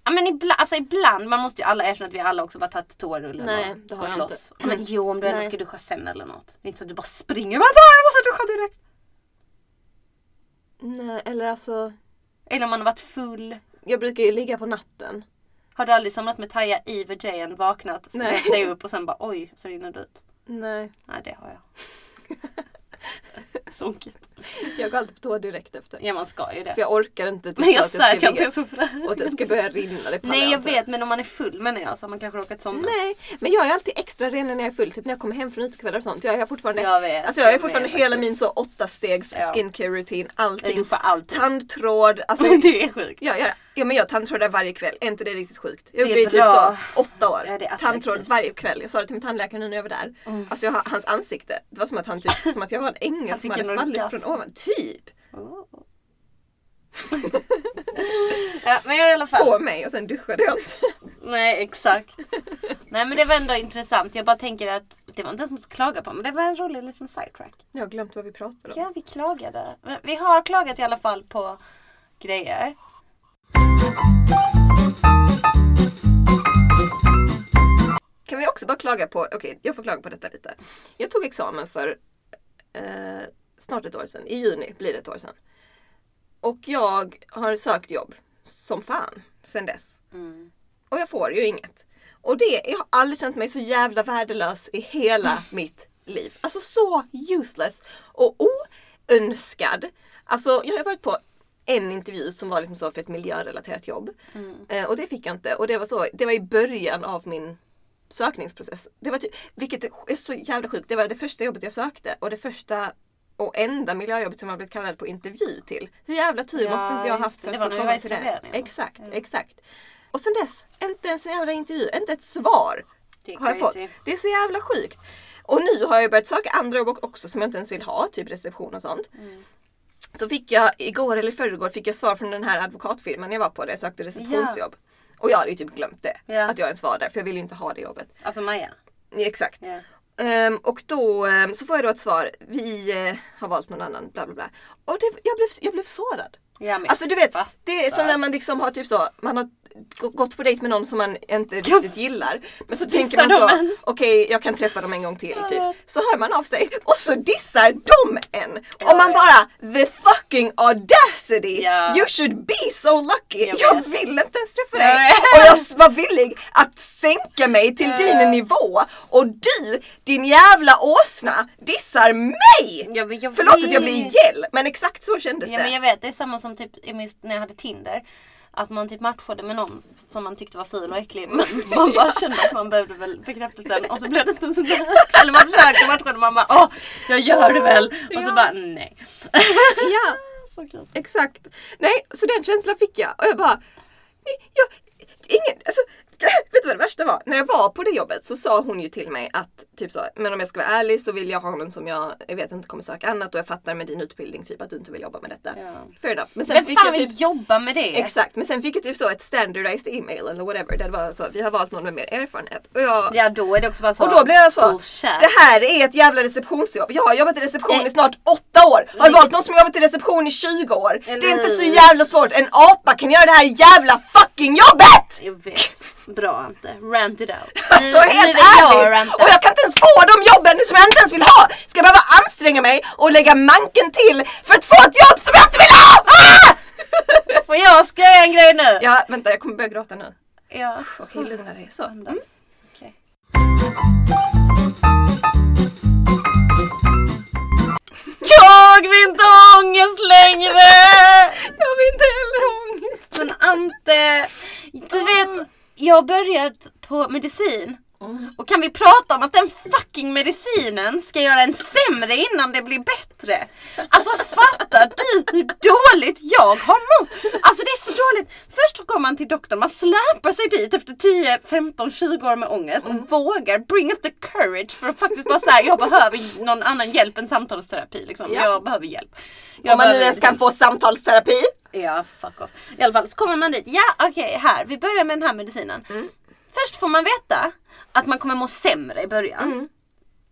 [SPEAKER 2] Ja men ibland, alltså ibland, man måste ju alla erkänna att vi alla också bara tagit toarullen
[SPEAKER 1] Nej,
[SPEAKER 2] och
[SPEAKER 1] det har
[SPEAKER 2] gått
[SPEAKER 1] jag
[SPEAKER 2] loss. Ja, men jo om du ändå
[SPEAKER 1] Nej.
[SPEAKER 2] ska duscha sen eller något. Det är inte så att du bara springer och bara "Fan, jag måste duscha direkt.
[SPEAKER 1] Nej eller alltså.
[SPEAKER 2] Eller om man har varit full.
[SPEAKER 1] Jag brukar ju ligga på natten.
[SPEAKER 2] Har du aldrig somnat med Taja i VJ'n, vaknat,
[SPEAKER 1] Nej.
[SPEAKER 2] steg upp och sen bara oj, så rinner det ut.
[SPEAKER 1] Nej.
[SPEAKER 2] Nej, det har jag.
[SPEAKER 1] [laughs]
[SPEAKER 2] Sunkigt.
[SPEAKER 1] Jag går alltid på toa direkt efter.
[SPEAKER 2] Ja, man ska ju det.
[SPEAKER 1] För jag orkar inte. typ
[SPEAKER 2] Men jag
[SPEAKER 1] så
[SPEAKER 2] sa att jag inte
[SPEAKER 1] ligga-
[SPEAKER 2] ens var full.
[SPEAKER 1] Och att det ska börja rinna. Det pallar
[SPEAKER 2] Nej, jag
[SPEAKER 1] inte.
[SPEAKER 2] vet. Men om man är full menar jag så har man kanske råkat somna.
[SPEAKER 1] Nej, men jag är alltid extra ren när jag är full. Typ när jag kommer hem från utekvällar och sånt. Jag har fortfarande,
[SPEAKER 2] Jag vet,
[SPEAKER 1] alltså jag har
[SPEAKER 2] jag
[SPEAKER 1] fortfarande
[SPEAKER 2] vet
[SPEAKER 1] hela
[SPEAKER 2] faktiskt.
[SPEAKER 1] min så åtta stegs
[SPEAKER 2] Ja.
[SPEAKER 1] skincare rutin.
[SPEAKER 2] Jag
[SPEAKER 1] Allting.
[SPEAKER 2] duschar alltid.
[SPEAKER 1] Tandtråd. Alltså,
[SPEAKER 2] [laughs] det är sjukt.
[SPEAKER 1] jag gör, ja, men jag tandtrådar varje kväll. Är inte det riktigt sjukt? Jag gjorde
[SPEAKER 2] är
[SPEAKER 1] det i typ
[SPEAKER 2] bra.
[SPEAKER 1] så åtta år.
[SPEAKER 2] Ja, det är
[SPEAKER 1] tandtråd
[SPEAKER 2] attraktivt. Mm.
[SPEAKER 1] varje kväll. Jag sa det till min tandläkare nu när jag var där. Alltså jag, har- hans ansikte. Det var som att han typ, som att jag var en ängel som
[SPEAKER 2] Han fick
[SPEAKER 1] hade
[SPEAKER 2] en
[SPEAKER 1] fallit
[SPEAKER 2] orgasm.
[SPEAKER 1] från ovan. Typ!
[SPEAKER 2] Oh. [laughs] ja, men jag i alla fall.
[SPEAKER 1] På mig och sen duschade jag inte.
[SPEAKER 2] Nej, exakt. Nej, men det var ändå intressant. Jag bara tänker att det var inte ens något att klaga på, men det var en rolig liten sidetrack.
[SPEAKER 1] Jag har glömt vad vi pratade om.
[SPEAKER 2] Ja, vi klagade. Men vi har klagat i alla fall på grejer.
[SPEAKER 1] Kan vi också bara klaga på, okej jag får klaga på detta lite. Jag tog examen för eh, snart ett år sedan. I juni blir det ett år sedan. Och jag har sökt jobb som fan sedan dess.
[SPEAKER 2] Mm.
[SPEAKER 1] Och jag får ju inget. Och det, jag har aldrig känt mig så jävla värdelös i
[SPEAKER 2] Mm.
[SPEAKER 1] hela mitt liv. Alltså så useless och oönskad. Alltså jag har ju varit på en intervju som var liksom så för ett miljörelaterat jobb.
[SPEAKER 2] Mm.
[SPEAKER 1] Eh, och det fick jag inte. Och det var, så, det var i början av min sökningsprocess. Det var typ, vilket är så jävla sjukt. Det var det första jobbet jag sökte och det första och enda miljöjobbet som jag blivit kallad på intervju till. Hur jävla tur
[SPEAKER 2] Ja,
[SPEAKER 1] måste inte jag
[SPEAKER 2] just
[SPEAKER 1] haft
[SPEAKER 2] det.
[SPEAKER 1] för
[SPEAKER 2] Det
[SPEAKER 1] att
[SPEAKER 2] var
[SPEAKER 1] få
[SPEAKER 2] när vi
[SPEAKER 1] komma
[SPEAKER 2] var i
[SPEAKER 1] till det?
[SPEAKER 2] Slovenien, va?
[SPEAKER 1] Exakt, Mm. exakt. Och sen dess, inte ens en jävla intervju, inte ett svar
[SPEAKER 2] Det är
[SPEAKER 1] har jag fått.
[SPEAKER 2] crazy.
[SPEAKER 1] Det är så jävla sjukt. Och nu har jag börjat söka andra jobb också som jag inte ens vill ha, typ reception och sånt.
[SPEAKER 2] Mm.
[SPEAKER 1] Så fick jag igår eller i förrgår fick jag svar från den här advokatfirman jag var på där jag sökte receptionsjobb. Och jag hade ju typ glömt det.
[SPEAKER 2] Ja.
[SPEAKER 1] Att jag ens var där för jag ville ju inte ha det jobbet.
[SPEAKER 2] Alltså Maja.
[SPEAKER 1] Exakt.
[SPEAKER 2] Ja.
[SPEAKER 1] Ehm, och då ehm, så får jag då ett svar. Vi eh, har valt någon annan bla bla bla. Och det, jag, blev, jag blev sårad.
[SPEAKER 2] Ja, men
[SPEAKER 1] Alltså du vet,
[SPEAKER 2] fattar.
[SPEAKER 1] det är som när man liksom har typ så, man har gå- gått på dejt med någon som man inte riktigt gillar. Men så tänker man
[SPEAKER 2] dissar
[SPEAKER 1] så,
[SPEAKER 2] de en.
[SPEAKER 1] okej jag kan träffa dem en gång till typ.
[SPEAKER 2] vet.
[SPEAKER 1] Så hör man av sig och så dissar de en! Och man
[SPEAKER 2] vet.
[SPEAKER 1] bara the fucking audacity!
[SPEAKER 2] Ja.
[SPEAKER 1] You should be so lucky! Jag,
[SPEAKER 2] Jag
[SPEAKER 1] vill inte ens träffa
[SPEAKER 2] Jag
[SPEAKER 1] dig!
[SPEAKER 2] vet.
[SPEAKER 1] Och jag var villig att sänka mig till
[SPEAKER 2] Jag
[SPEAKER 1] din
[SPEAKER 2] vet.
[SPEAKER 1] nivå och du, din jävla åsna, dissar mig!
[SPEAKER 2] Ja, men jag
[SPEAKER 1] Förlåt att jag blir
[SPEAKER 2] vet.
[SPEAKER 1] gäll, men exakt så kändes
[SPEAKER 2] Ja
[SPEAKER 1] det.
[SPEAKER 2] men jag vet, det är samma som typ i min- när jag hade Tinder. Att man typ matchade med någon som man tyckte var ful och äcklig [laughs] men man bara kände att man behövde väl bekräftelsen och så blev det inte så bra. Eller man försökte matcha och man bara åh, jag gör det väl. Och så
[SPEAKER 1] Ja.
[SPEAKER 2] bara nej. [laughs]
[SPEAKER 1] Ja.
[SPEAKER 2] Så kul.
[SPEAKER 1] Exakt. Nej, så den känslan fick jag och jag bara... Jag, ingen, alltså, [clears throat] vet du vad det värsta var? När jag var på det jobbet så sa hon ju till mig att typ så, men om jag ska vara ärlig så vill jag ha någon som jag, jag vet inte kommer söka annat och jag fattar med din utbildning typ att du inte vill jobba med detta.
[SPEAKER 2] Ja.
[SPEAKER 1] Fair enough. Men sen
[SPEAKER 2] Vem
[SPEAKER 1] fick jag
[SPEAKER 2] fan
[SPEAKER 1] typ,
[SPEAKER 2] vill jobba med det?
[SPEAKER 1] exakt, men sen fick jag typ så ett standardized email eller whatever där det var så, vi har valt någon med mer erfarenhet. Och jag,
[SPEAKER 2] Ja då är det också bara så.
[SPEAKER 1] och då blev jag så,
[SPEAKER 2] bullshit. Eh.
[SPEAKER 1] det här är ett jävla receptionsjobb. Jag har jobbat i reception
[SPEAKER 2] Nej.
[SPEAKER 1] i snart åtta år. Har
[SPEAKER 2] Nej.
[SPEAKER 1] valt någon som har jobbat i reception i 20 år. Det är
[SPEAKER 2] Eller
[SPEAKER 1] inte så
[SPEAKER 2] hur?
[SPEAKER 1] jävla svårt. En apa kan göra det här jävla fucking jobbet!
[SPEAKER 2] Jag vet. Bra Ante. Rant it out. [laughs]
[SPEAKER 1] Alltså helt
[SPEAKER 2] vill Mm, jag
[SPEAKER 1] ärligt!
[SPEAKER 2] ranta.
[SPEAKER 1] Och jag kan inte ens få de jobben som jag inte ens vill ha! Ska jag behöva anstränga mig och lägga manken till för att få ett jobb som jag inte vill ha! Ah!
[SPEAKER 2] Får jag skriva en grej nu?
[SPEAKER 1] Ja, vänta jag kommer börja gråta nu.
[SPEAKER 2] ja.
[SPEAKER 1] Okej, lugna dig. Så.
[SPEAKER 2] Andas. Okej. Jag vill inte ha ångest längre!
[SPEAKER 1] Jag vill inte heller ha ångest.
[SPEAKER 2] Men Ante, du vet, jag har börjat på medicin.
[SPEAKER 1] Mm.
[SPEAKER 2] Och kan vi prata om att den fucking medicinen ska göra en sämre innan det blir bättre? Alltså fattar du hur dåligt jag har mått? Alltså det är så dåligt. Först så går man till doktorn, man släpar sig dit efter 10, 15, 20 år med ångest
[SPEAKER 1] Mm.
[SPEAKER 2] och vågar bring up the courage för att faktiskt bara säga jag behöver någon annan hjälp än samtalsterapi. Liksom.
[SPEAKER 1] Ja.
[SPEAKER 2] Jag behöver hjälp. Jag
[SPEAKER 1] Om man nu
[SPEAKER 2] behöver
[SPEAKER 1] ens kan få samtalsterapi.
[SPEAKER 2] Ja, fuck off. I alla fall så kommer man dit. Ja, okej, här. Vi börjar med den här medicinen. Först får man veta att man kommer må sämre i början.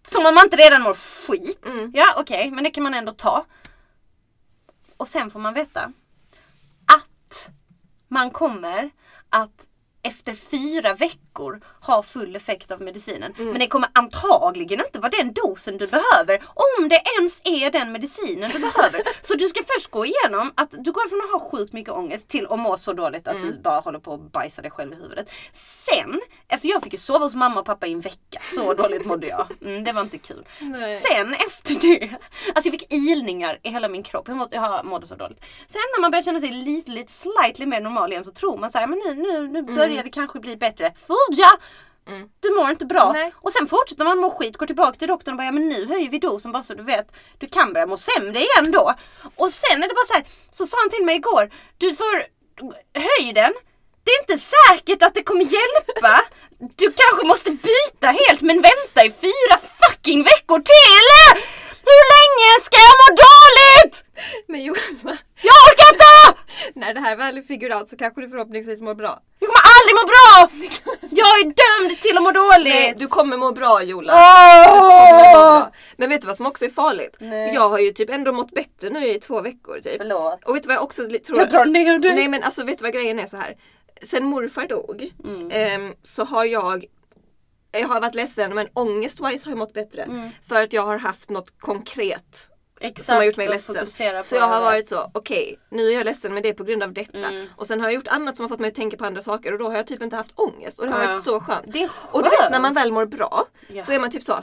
[SPEAKER 2] Som om man inte redan mår skit. Ja, okej, men det kan man ändå ta. Och sen får man veta att man kommer att efter fyra veckor ha full effekt av medicinen. Men det kommer antagligen inte vara den dosen du behöver om det ens är den medicinen du behöver. Så du ska först gå igenom att du går från att ha sjukt mycket ångest till att må så dåligt att du bara håller på att bajsa dig själv i huvudet. Sen, Alltså jag fick ju sova hos mamma och pappa i en vecka. Så dåligt mådde jag. Mm, det var inte kul.
[SPEAKER 1] Nej.
[SPEAKER 2] Sen efter det. Alltså jag fick ilningar i hela min kropp. Jag, må, jag mådde så dåligt. Sen när man börjar känna sig lite, lite slightly mer normal igen så tror man så här, men nu, nu, nu börjar det kanske bli bättre. Fooled ya! Du mår inte bra.
[SPEAKER 1] Nej.
[SPEAKER 2] Och sen fortsätter man må skit, går tillbaka till doktorn och bara ja, men nu höjer vi dosen bara så du vet. Du kan börja må sämre igen då. Och sen är det bara så här, så sa han till mig igår, du får höj den. Det är inte säkert att det kommer hjälpa. Du kanske måste byta helt men vänta i fyra fucking veckor till! Hur länge ska jag må dåligt?
[SPEAKER 1] Men Johanna,
[SPEAKER 2] Jag orkar inte!
[SPEAKER 1] [laughs] när det här väl är figurat så kanske du förhoppningsvis mår bra.
[SPEAKER 2] Jag kommer aldrig må bra! Jag är dömd till att må
[SPEAKER 1] Nej,
[SPEAKER 2] dåligt!
[SPEAKER 1] du kommer må bra Jola. kommer må
[SPEAKER 2] Åh!
[SPEAKER 1] bra. Men vet du vad som också är farligt?
[SPEAKER 2] Nej.
[SPEAKER 1] Jag har ju typ ändå mått bättre nu i två veckor typ.
[SPEAKER 2] Förlåt.
[SPEAKER 1] Och vet du vad jag också li- tror?
[SPEAKER 2] Jag drar ner dig.
[SPEAKER 1] Nej men alltså vet du vad grejen är så här. Sen morfar dog
[SPEAKER 2] Mm.
[SPEAKER 1] ehm, så har jag jag har varit ledsen men ångestwise har jag mått bättre.
[SPEAKER 2] Mm.
[SPEAKER 1] För att jag har haft något konkret
[SPEAKER 2] Exakt,
[SPEAKER 1] som har gjort mig
[SPEAKER 2] och
[SPEAKER 1] ledsen.
[SPEAKER 2] fokusera på
[SPEAKER 1] Så jag har
[SPEAKER 2] det. Mm.
[SPEAKER 1] varit så, okej nu är jag ledsen men det är på grund av detta. Och sen har jag gjort annat som har fått mig att tänka på andra saker och då har jag typ inte haft ångest. Och det har
[SPEAKER 2] Ja.
[SPEAKER 1] varit så skönt.
[SPEAKER 2] Det är
[SPEAKER 1] Och du vet när
[SPEAKER 2] skönt.
[SPEAKER 1] man väl mår bra
[SPEAKER 2] Ja.
[SPEAKER 1] så är man typ så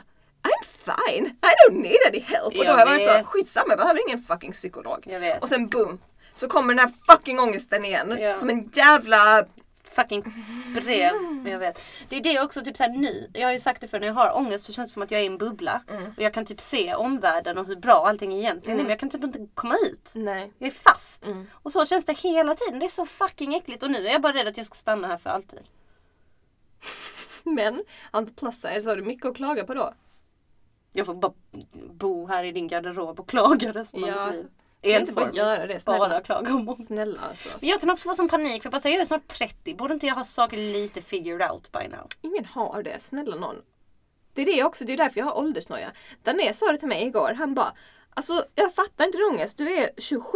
[SPEAKER 1] I'm fine, I don't need any help. Och då
[SPEAKER 2] Jag
[SPEAKER 1] har jag varit så,
[SPEAKER 2] vet.
[SPEAKER 1] skitsamma jag behöver ingen fucking psykolog.
[SPEAKER 2] Jag vet.
[SPEAKER 1] Och sen boom, så kommer den här fucking ångesten igen.
[SPEAKER 2] Ja.
[SPEAKER 1] Som en jävla...
[SPEAKER 2] fucking brev. Men jag vet. Det är det också, typ såhär nu. Jag har ju sagt det för när jag har ångest så känns det som att jag är i en bubbla. Och jag kan typ se omvärlden och hur bra allting egentligen är men jag kan typ inte komma ut.
[SPEAKER 1] Nej.
[SPEAKER 2] Jag är fast. Och så känns det hela tiden. Det är så fucking äckligt. Och nu är jag bara rädd att jag ska stanna här för alltid.
[SPEAKER 1] [laughs] Men, on the plus side så har du mycket att klaga på då.
[SPEAKER 2] Jag får bara bo här i din garderob och klaga resten
[SPEAKER 1] Ja.
[SPEAKER 2] av mitt liv.
[SPEAKER 1] Kan vi inte bara
[SPEAKER 2] Enformigt.
[SPEAKER 1] göra det, snälla?
[SPEAKER 2] Bara klaga om ångest.
[SPEAKER 1] Snälla alltså.
[SPEAKER 2] Men jag kan också vara som panik för jag bara säger jag är snart 30. Borde inte jag ha saker lite figured out by now?
[SPEAKER 1] Ingen har det, snälla någon. Det är det också, det är därför jag har åldersnoja. Dané sa det till mig igår, han bara Alltså jag fattar inte din ångest, du är 27.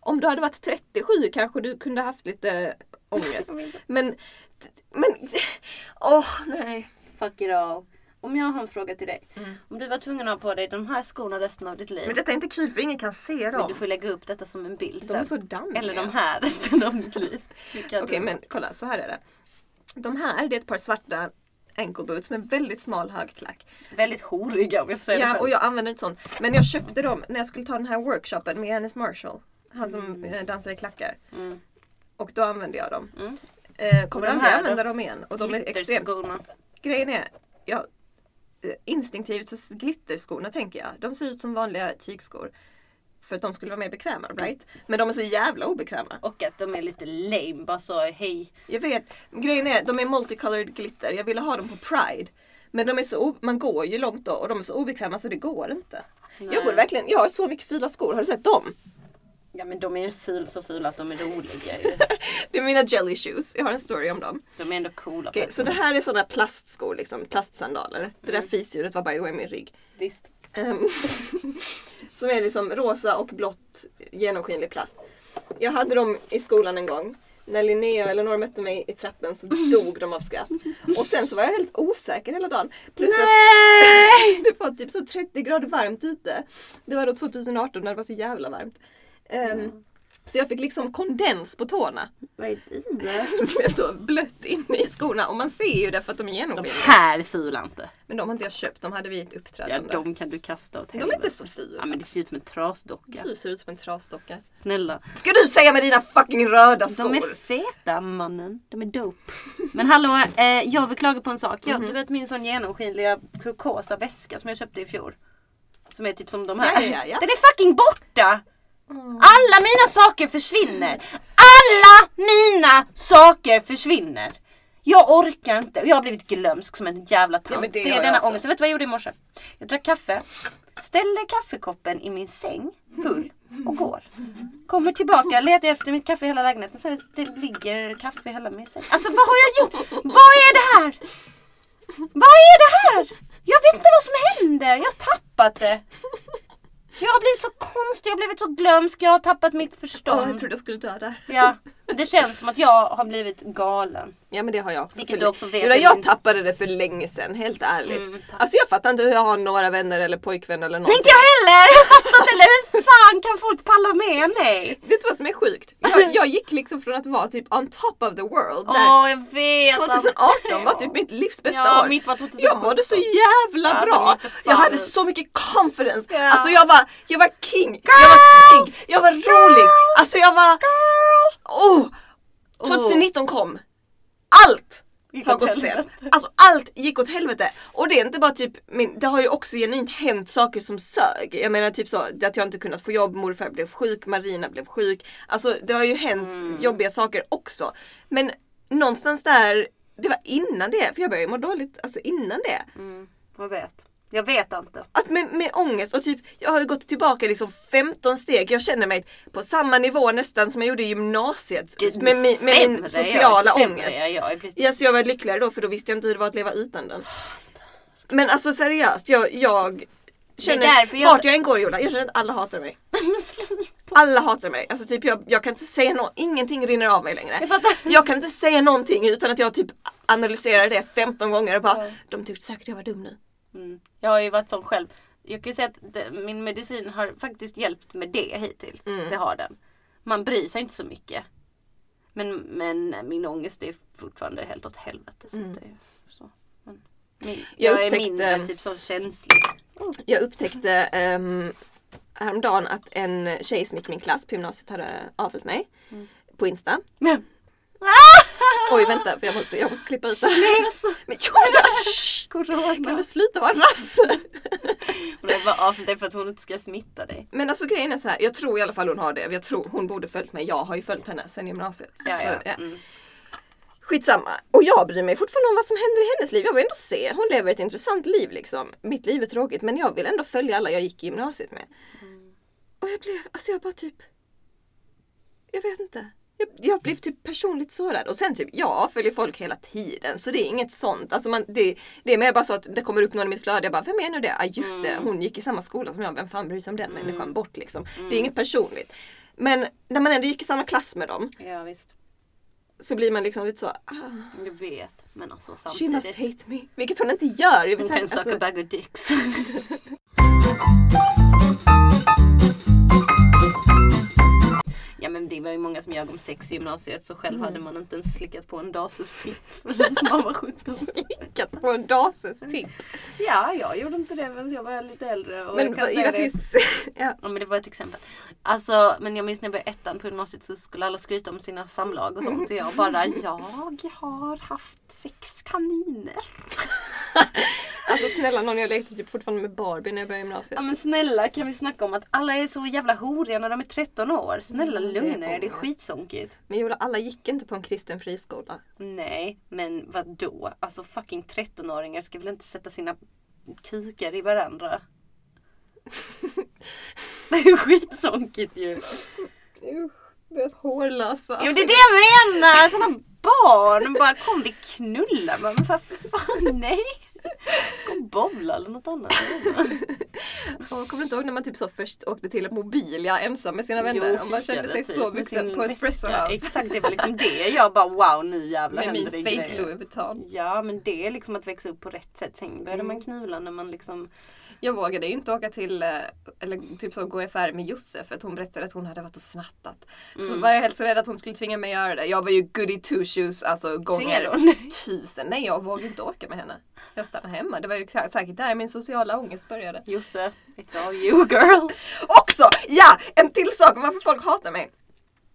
[SPEAKER 1] Om du hade varit 37 kanske du kunde haft lite ångest. [laughs] Men, men, [laughs] åh nej.
[SPEAKER 2] Fuck it all. Om jag har en fråga till dig. Mm. Om du var tvungen att ha på dig de här skorna resten av ditt liv.
[SPEAKER 1] Men detta är inte kul för ingen kan se dem.
[SPEAKER 2] Men du får lägga upp detta som en bild
[SPEAKER 1] De är
[SPEAKER 2] sen.
[SPEAKER 1] så dammiga.
[SPEAKER 2] Eller de här [laughs] resten av mitt liv. Vilka
[SPEAKER 1] Okej
[SPEAKER 2] du-
[SPEAKER 1] men kolla, så här är det. De här, det är ett par svarta ankle boots med väldigt smal högklack.
[SPEAKER 2] Väldigt horiga om jag får säga det
[SPEAKER 1] Ja,
[SPEAKER 2] själv.
[SPEAKER 1] och jag använder inte sånt. Men jag köpte dem när jag skulle ta den här workshopen med Janis Marshall. Han som eh, dansar i klackar.
[SPEAKER 2] Mm.
[SPEAKER 1] Och då använde jag dem. Eh, kommer
[SPEAKER 2] de
[SPEAKER 1] aldrig
[SPEAKER 2] här
[SPEAKER 1] använda
[SPEAKER 2] då?
[SPEAKER 1] dem igen. Och de är extremt...
[SPEAKER 2] Glitterskorna.
[SPEAKER 1] Grejen är, jag, eh, instinktivt så glitterskorna tänker jag. De ser ut som vanliga tygskor. För att de skulle vara mer bekväma,
[SPEAKER 2] Mm.
[SPEAKER 1] right? Men de är så jävla obekväma.
[SPEAKER 2] Och att de är lite lame. Bara så hej.
[SPEAKER 1] Jag vet. Grejen är, de är multicolored glitter. Jag ville ha dem på Pride. Men de är så o- man går ju långt då och de är så obekväma så det går inte. Jag borde verkligen, jag har så mycket fula skor, har du sett dem?
[SPEAKER 2] Ja men de är ful så fula att de är roliga ju.
[SPEAKER 1] Det är mina jelly shoes, jag har en story om dem.
[SPEAKER 2] De är ändå coola.
[SPEAKER 1] Okej, så det här är sådana plastskor liksom, plastsandaler. Det där fisljudet var by the way min rygg.
[SPEAKER 2] Visst.
[SPEAKER 1] Ehm, [laughs] som är liksom rosa och blått genomskinlig plast. Jag hade dem i skolan en gång. När Linnea och Eleanor mötte mig i trappen så dog de av skratt. Och sen så var jag helt osäker hela dagen. Plus att
[SPEAKER 2] Nej!
[SPEAKER 1] [laughs] det var typ så 30 grader varmt ute. Det var då 2018 när det var så jävla varmt. Ehm, Så jag fick liksom kondens på tårna. [laughs]
[SPEAKER 2] Vad är det?
[SPEAKER 1] Det blev så blött inne i skorna och man ser ju det för att de är genomskinliga.
[SPEAKER 2] Här är fula inte.
[SPEAKER 1] Men de har inte jag köpt, de hade vi i ett
[SPEAKER 2] Ja,
[SPEAKER 1] uppträdande.
[SPEAKER 2] de kan du kasta åt
[SPEAKER 1] de är inte så Typ. fula.
[SPEAKER 2] Ja men det ser ut som en trasdocka.
[SPEAKER 1] Du ser ut som en trasdocka.
[SPEAKER 2] Snälla.
[SPEAKER 1] Ska du säga med dina fucking röda skor?
[SPEAKER 2] De är feta mannen. De är dope. Men hallå, eh, jag vill klaga på en sak.
[SPEAKER 1] Mhm.
[SPEAKER 2] Jag, Du vet min sån genomskinliga turkosa väska som jag köpte i fjol. Som är typ som de här.
[SPEAKER 1] Ja, ja, ja.
[SPEAKER 2] Den är fucking borta! Alla mina saker försvinner. Alla mina saker försvinner. Jag orkar inte. Och Jag har blivit glömsk som en jävla tant.
[SPEAKER 1] Ja, men det
[SPEAKER 2] det,
[SPEAKER 1] har jag
[SPEAKER 2] är denna
[SPEAKER 1] också.
[SPEAKER 2] ångest. Vet du vad jag gjorde i morse? Jag drack kaffe. Ställer kaffekoppen i min säng full och går. Kommer tillbaka, letar efter mitt kaffe i hela lägenheten. Så här, det ligger kaffe i hela min säng. Alltså vad har jag gjort? Vad är det här? Vad är det här? Jag vet inte vad som händer. Jag har tappat det. Jag har blivit så konstig, jag har blivit så glömsk, jag har tappat mitt
[SPEAKER 1] Åh, jag
[SPEAKER 2] förstånd.
[SPEAKER 1] trodde jag skulle dö där.
[SPEAKER 2] Ja. Det känns som att jag har blivit galen.
[SPEAKER 1] Ja men det har jag också.
[SPEAKER 2] Vilket
[SPEAKER 1] För-
[SPEAKER 2] du också vet
[SPEAKER 1] Julia,
[SPEAKER 2] är
[SPEAKER 1] jag
[SPEAKER 2] min-
[SPEAKER 1] tappade det för länge sedan, helt ärligt.
[SPEAKER 2] Mm, tack.
[SPEAKER 1] alltså jag fattar inte hur jag har några vänner eller pojkvän eller
[SPEAKER 2] Men
[SPEAKER 1] någonting.
[SPEAKER 2] inte jag [laughs] heller! Jag fattar inte heller. Hur fan kan folk palla med mig?
[SPEAKER 1] Vet du vad som är sjukt?
[SPEAKER 2] [laughs]
[SPEAKER 1] Jag, jag gick liksom från att vara typ on top of the world där
[SPEAKER 2] Åh, jag vet.
[SPEAKER 1] 2018 var typ mitt livs bästa
[SPEAKER 2] Ja,
[SPEAKER 1] år.
[SPEAKER 2] mitt var 2018.
[SPEAKER 1] Jag mådde så jävla
[SPEAKER 2] Ja,
[SPEAKER 1] bra.
[SPEAKER 2] men inte fan.
[SPEAKER 1] Jag hade så mycket confidence.
[SPEAKER 2] Ja.
[SPEAKER 1] Alltså jag var, jag var king, jag var snygg, jag var rolig. Alltså jag var... Oh, 2019 kom. Allt
[SPEAKER 2] Gick
[SPEAKER 1] har
[SPEAKER 2] åt
[SPEAKER 1] gått fel.
[SPEAKER 2] helvete.
[SPEAKER 1] Alltså allt gick åt helvete. Och det är inte bara typ, min, det har ju också genuint hänt saker som sög. Jag menar typ så att jag inte kunnat få jobb, morfar blev sjuk, Marina blev sjuk. Alltså det har ju hänt
[SPEAKER 2] Mm.
[SPEAKER 1] jobbiga saker också. Men någonstans där, det var innan det, för jag började må dåligt alltså innan det.
[SPEAKER 2] Mm, jag vet. Jag vet inte.
[SPEAKER 1] Att med, med ångest och typ, jag har ju gått tillbaka liksom 15 steg. Jag känner mig på samma nivå nästan som jag gjorde i gymnasiet. med, min- med min
[SPEAKER 2] Sämre jag,
[SPEAKER 1] sociala
[SPEAKER 2] sämre
[SPEAKER 1] ångest.
[SPEAKER 2] Jag, jag, har blivit-
[SPEAKER 1] Ja, så jag var lyckligare då för då visste jag inte hur det var att leva utan den. Men alltså seriöst, jag, jag
[SPEAKER 2] Det är därför
[SPEAKER 1] känner,
[SPEAKER 2] jag
[SPEAKER 1] vart
[SPEAKER 2] inte-
[SPEAKER 1] jag än går Jola, jag känner att alla hatar mig.
[SPEAKER 2] [laughs] Men sluta.
[SPEAKER 1] Alla hatar mig. Alltså typ jag, jag kan inte säga något, ingenting rinner av mig längre.
[SPEAKER 2] Jag fattar.
[SPEAKER 1] Jag kan inte säga någonting utan att jag typ analyserar det 15 gånger och bara
[SPEAKER 2] Ja.
[SPEAKER 1] de tyckte säkert jag var dum nu.
[SPEAKER 2] Mm. Jag har ju varit sån själv. Jag kan ju säga att det, min medicin har faktiskt hjälpt med det hittills.
[SPEAKER 1] Mm.
[SPEAKER 2] Det har den. Man bryr sig inte så mycket. Men, men min ångest är fortfarande helt åt helvete. Så det är så. Men, min,
[SPEAKER 1] Mm. Jag
[SPEAKER 2] jag är
[SPEAKER 1] upptäckte-
[SPEAKER 2] mindre typ så känslig. Oh.
[SPEAKER 1] Jag upptäckte um, häromdagen att en tjej som gick i min klass på gymnasiet hade avföljt mig
[SPEAKER 2] Mm.
[SPEAKER 1] på Insta.
[SPEAKER 2] Men,
[SPEAKER 1] [laughs]
[SPEAKER 2] [laughs]
[SPEAKER 1] Oj vänta för jag måste, jag måste klippa ut det här.
[SPEAKER 2] Kines!
[SPEAKER 1] Men Jola! shh! Kan
[SPEAKER 2] Corona!
[SPEAKER 1] du sluta vara rasse?
[SPEAKER 2] Och det var av det för att hon inte ska smitta dig.
[SPEAKER 1] [laughs] Men alltså grejen är så här, jag tror i alla fall hon har det. Jag tror hon borde följt mig. Jag har ju följt henne sedan gymnasiet.
[SPEAKER 2] Ja,
[SPEAKER 1] så,
[SPEAKER 2] ja.
[SPEAKER 1] Alltså, ja.
[SPEAKER 2] Mm.
[SPEAKER 1] Skitsamma. Och jag bryr mig fortfarande om vad som händer i hennes liv. Jag vill ändå se. Hon lever ett intressant liv liksom. Mitt liv är tråkigt men jag vill ändå följa alla jag gick i gymnasiet med. Och jag blev, alltså jag bara typ... Jag vet inte. Jag, jag blev typ personligt sårad. Och sen typ, jag följer folk hela tiden. Så det är inget sånt. Alltså man, det, det är mer bara så att det kommer upp någon i mitt flöde. Jag bara, vem är nu det? Ah, just det, hon gick i samma skola som jag. Vem fan bryr sig om den människan? Bort liksom. Det är inget personligt. Men när man ändå gick i samma klass med dem
[SPEAKER 2] Ja visst.
[SPEAKER 1] så blir man liksom lite så, ah,
[SPEAKER 2] Jag vet. Men alltså
[SPEAKER 1] She must
[SPEAKER 2] samtidigt.
[SPEAKER 1] hate me. Vilket hon inte gör. Jag vill
[SPEAKER 2] Hon
[SPEAKER 1] säga,
[SPEAKER 2] kan suck a
[SPEAKER 1] alltså,
[SPEAKER 2] bag of [laughs] dicks. Ja men det var ju många som ljög om sex i gymnasiet så själv hade man inte ens slickat på en typ, [laughs] dasusflipp förrän man var 17.
[SPEAKER 1] slickat på en dases tipp.
[SPEAKER 2] Ja, jag gjorde inte det men jag var lite äldre. Och
[SPEAKER 1] Men
[SPEAKER 2] jag kan
[SPEAKER 1] vad-
[SPEAKER 2] säga
[SPEAKER 1] varför
[SPEAKER 2] det.
[SPEAKER 1] just... [laughs] ja.
[SPEAKER 2] Ja men det var ett exempel. Alltså, men jag minns när jag började ettan på gymnasiet så skulle alla skryta om sina samlag och sånt. Och jag [laughs] bara, jag har haft sex kaniner.
[SPEAKER 1] Alltså snälla någon, jag lekte typ fortfarande med Barbie när jag började gymnasiet.
[SPEAKER 2] Ja men snälla kan vi snacka om att alla är så jävla horiga när de är 13 år. Snälla
[SPEAKER 1] Mm, det är
[SPEAKER 2] lugna er, det är
[SPEAKER 1] ångest.
[SPEAKER 2] skitsonkigt.
[SPEAKER 1] Men Jola, alla gick inte på en kristen friskola.
[SPEAKER 2] Nej, men vad då? Alltså fucking 13-åringar ska väl inte sätta sina kukar i varandra? [laughs] det är skitsonkigt ju.
[SPEAKER 1] Usch, deras hårlösa.
[SPEAKER 2] Jo det är det jag menar! Såna barn bara kom vi knulla men vad fan nej! Gå och bowla eller något annat.
[SPEAKER 1] Och kommer du inte ihåg när man typ så först åkte till Mobilia ensam med sina vänner? och man kände sig
[SPEAKER 2] fikade typ
[SPEAKER 1] så
[SPEAKER 2] med sin
[SPEAKER 1] vuxen på
[SPEAKER 2] väska.
[SPEAKER 1] Espresso House.
[SPEAKER 2] Exakt det var liksom det. Jag bara wow nu jävlar
[SPEAKER 1] Med min
[SPEAKER 2] händer det
[SPEAKER 1] fake
[SPEAKER 2] grejer.
[SPEAKER 1] Louis Vuitton.
[SPEAKER 2] Ja men det är liksom att växa upp på rätt sätt. Sen började man knula när man liksom
[SPEAKER 1] Jag vågade ju inte åka till, eh, eller typ så gå i affär med Josef för att hon berättade att hon hade varit och snattat. Så var jag helt så rädd att hon skulle tvinga mig att göra det. Jag var ju goody two shoes alltså gånger
[SPEAKER 2] Tvingade hon?
[SPEAKER 1] tusen. Nej jag vågade inte åka med henne. Jag stannade hemma. Det var ju sä- säkert där min sociala ångest började.
[SPEAKER 2] Josse, it's all you girl.
[SPEAKER 1] Också! Ja! En till sak om varför folk hatar mig.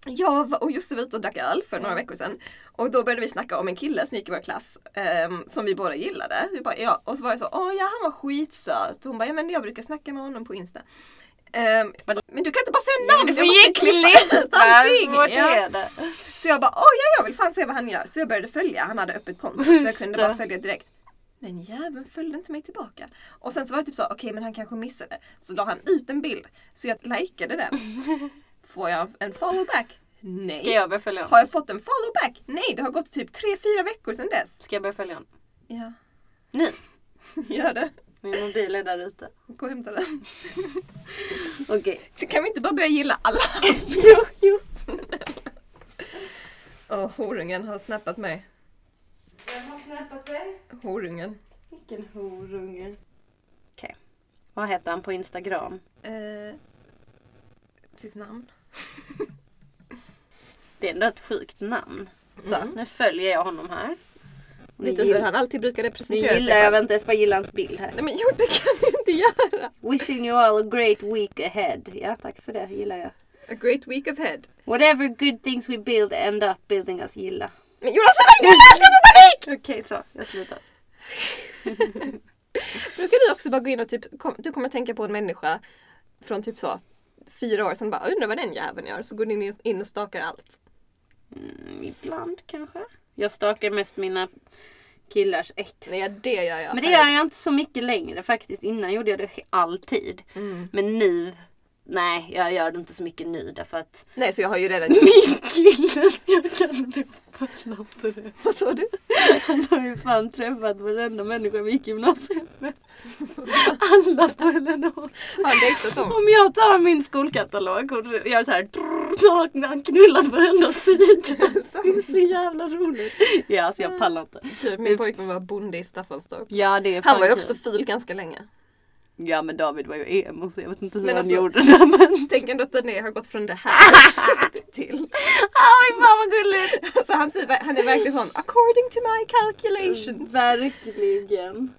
[SPEAKER 1] Jag var- och Josse var ute och drack öl för några veckor sedan. Och då började vi snacka om en kille som gick i vår klass. ehm, som vi båda gillade. Vi bara, ja. Och så var jag så, åh ja han var skitsöt. Hon bara, ja men jag brukar snacka med honom på Insta. Ehm, men du kan inte bara säga namn!
[SPEAKER 2] Du
[SPEAKER 1] jag måste
[SPEAKER 2] får
[SPEAKER 1] klippa
[SPEAKER 2] [laughs]
[SPEAKER 1] ut [laughs] allting.
[SPEAKER 2] Vart
[SPEAKER 1] Ja.
[SPEAKER 2] är det?
[SPEAKER 1] Så jag bara, åh ja jag vill fan se vad han gör. Så jag började följa, han hade öppet konto. Så jag
[SPEAKER 2] Just
[SPEAKER 1] kunde
[SPEAKER 2] det.
[SPEAKER 1] bara följa direkt. Den jäveln följde inte mig tillbaka. Och sen så var jag typ så, okej men han kanske missade. Så la han ut en bild. Så jag likade
[SPEAKER 2] [laughs]
[SPEAKER 1] den. Får jag en follow back? Nej.
[SPEAKER 2] Ska jag börja följa honom?
[SPEAKER 1] Har jag fått en follow back? Nej, det har gått typ 3-4 veckor sedan dess.
[SPEAKER 2] Ska jag börja följa honom?
[SPEAKER 1] Ja,
[SPEAKER 2] Nu!
[SPEAKER 1] [laughs] gör det.
[SPEAKER 2] Min mobil är där ute.
[SPEAKER 1] Gå och hämta
[SPEAKER 2] [laughs]
[SPEAKER 1] den.
[SPEAKER 2] Okej.
[SPEAKER 1] [laughs] Så kan vi inte bara börja gilla alla?
[SPEAKER 2] jo, jo.
[SPEAKER 1] Ja, horungen har snappat mig.
[SPEAKER 2] Vem har snappat dig?
[SPEAKER 1] Horungen.
[SPEAKER 2] Vilken horunge. Okej. Vad heter han på Instagram?
[SPEAKER 1] Eh, sitt namn.
[SPEAKER 2] Det är ändå ett sjukt namn. Så,
[SPEAKER 1] Mm.
[SPEAKER 2] nu följer jag honom här. Nu,
[SPEAKER 1] Vet du
[SPEAKER 2] gill-
[SPEAKER 1] hur han alltid brukar
[SPEAKER 2] nu
[SPEAKER 1] representera
[SPEAKER 2] gillar
[SPEAKER 1] sig
[SPEAKER 2] jag,
[SPEAKER 1] själv?
[SPEAKER 2] vänta jag ska gilla hans bild här.
[SPEAKER 1] Nej men jo, det kan du inte göra!
[SPEAKER 2] Wishing you all a great week ahead. Ja, tack för det. Gillar jag.
[SPEAKER 1] A great week of head.
[SPEAKER 2] Whatever good things we build end up building us gilla.
[SPEAKER 1] Men Jonas, vad gör du? Jag får panik!
[SPEAKER 2] Okej, så. Jag slutar.
[SPEAKER 1] Brukar du också bara gå in och typ, kom, du kommer tänka på en människa från typ så fyra år sedan bara undrar vad den jäveln gör så går du in- in och stakar allt.
[SPEAKER 2] Mm, ibland kanske. Jag stalkar mest mina killars ex.
[SPEAKER 1] Nej det gör jag.
[SPEAKER 2] Men det gör jag inte så mycket längre faktiskt. Innan gjorde jag det alltid.
[SPEAKER 1] Mm.
[SPEAKER 2] Men nu, nej jag gör det inte så mycket nu därför att [laughs]
[SPEAKER 1] Nej så jag har ju redan
[SPEAKER 2] min kille, jag kan inte uppfatta det.
[SPEAKER 1] Vad sa du?
[SPEAKER 2] Han har ju fan träffat varenda människa vi gick i gymnasiet med. Alla på LNH.
[SPEAKER 1] Har en extra [laughs] sång?
[SPEAKER 2] Om jag tar min skolkatalog och gör så här drrrr, så har han knullat varenda sida. Det är så jävla roligt. Ja, alltså jag pallar inte.
[SPEAKER 1] Typ min pojkvän var bonde i Staffanstorp.
[SPEAKER 2] Ja, det är
[SPEAKER 1] Han
[SPEAKER 2] fan
[SPEAKER 1] var ju
[SPEAKER 2] kul.
[SPEAKER 1] också fil ganska länge.
[SPEAKER 2] Ja men David var ju emo så jag vet inte hur
[SPEAKER 1] Men
[SPEAKER 2] han
[SPEAKER 1] alltså-
[SPEAKER 2] gjorde det men...
[SPEAKER 1] [laughs] Tänk ändå att Dané har gått från det här [laughs] till... Ah,
[SPEAKER 2] Oj fan vad gulligt!
[SPEAKER 1] Alltså han, säger, ver- han är verkligen sån according to my calculations.
[SPEAKER 2] Verkligen.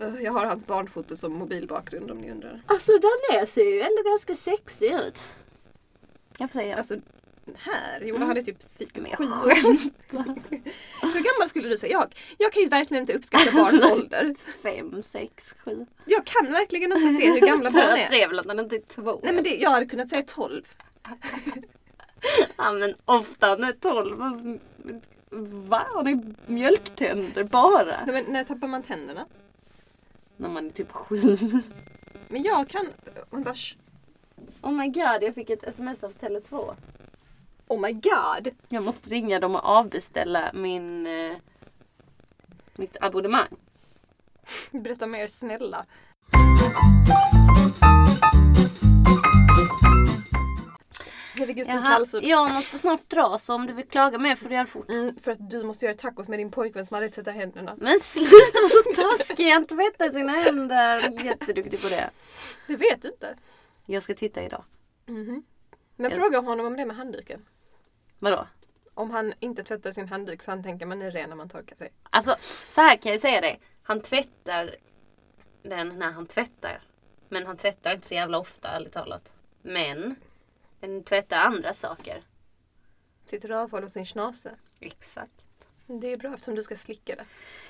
[SPEAKER 1] Öh, Jag har hans barnfoto som mobilbakgrund om ni undrar.
[SPEAKER 2] Alltså Danne ser ju ändå ganska sexig ut. Jag får säga.
[SPEAKER 1] Alltså den här, Jola han är typ fy-
[SPEAKER 2] men jag
[SPEAKER 1] sju år. [laughs] Hur gammal skulle du säga? Jag, jag kan ju verkligen inte [laughs] uppskatta barns ålder.
[SPEAKER 2] fem, sex, sju.
[SPEAKER 1] Jag kan verkligen inte se hur [laughs] gamla barn
[SPEAKER 2] [laughs] Jag
[SPEAKER 1] är.
[SPEAKER 2] ser väl att han inte är två.
[SPEAKER 1] Nej men det, jag hade kunnat säga 12.
[SPEAKER 2] ja, men ofta han är tolv. Va? Han har ju mjölktänder bara.
[SPEAKER 1] Nej, men när tappar man tänderna?
[SPEAKER 2] När man är typ sju.
[SPEAKER 1] Men jag kan... Vänta. sh-
[SPEAKER 2] Oh my god, jag fick ett sms av Tele2.
[SPEAKER 1] Oh my god!
[SPEAKER 2] Jag måste ringa dem och avbeställa min, eh, mitt abonnemang.
[SPEAKER 1] Berätta mer snälla. Herregud, vilken
[SPEAKER 2] Jaha,
[SPEAKER 1] kallsup.
[SPEAKER 2] jag måste snart dra så om du vill klaga mer får du göra det fort.
[SPEAKER 1] Mm, för att du måste göra tacos med din pojkvän som aldrig tvättar händerna.
[SPEAKER 2] Men sluta vara så taskig, han tvättar sina händer. Jätteduktig på det.
[SPEAKER 1] Det vet du inte.
[SPEAKER 2] Jag ska titta idag.
[SPEAKER 1] Mhm. Men
[SPEAKER 2] Jag-
[SPEAKER 1] fråga honom om det med handduken.
[SPEAKER 2] Vadå?
[SPEAKER 1] Om han inte tvättar sin handduk för han tänker man är ren när man torkar sig.
[SPEAKER 2] Alltså så här kan jag ju säga dig. Han tvättar den när han tvättar. Men han tvättar inte så jävla ofta ärligt talat. Men den tvättar andra saker.
[SPEAKER 1] Sitt rövhål och sin schnauzer.
[SPEAKER 2] Exakt.
[SPEAKER 1] Det är bra eftersom du ska slicka det.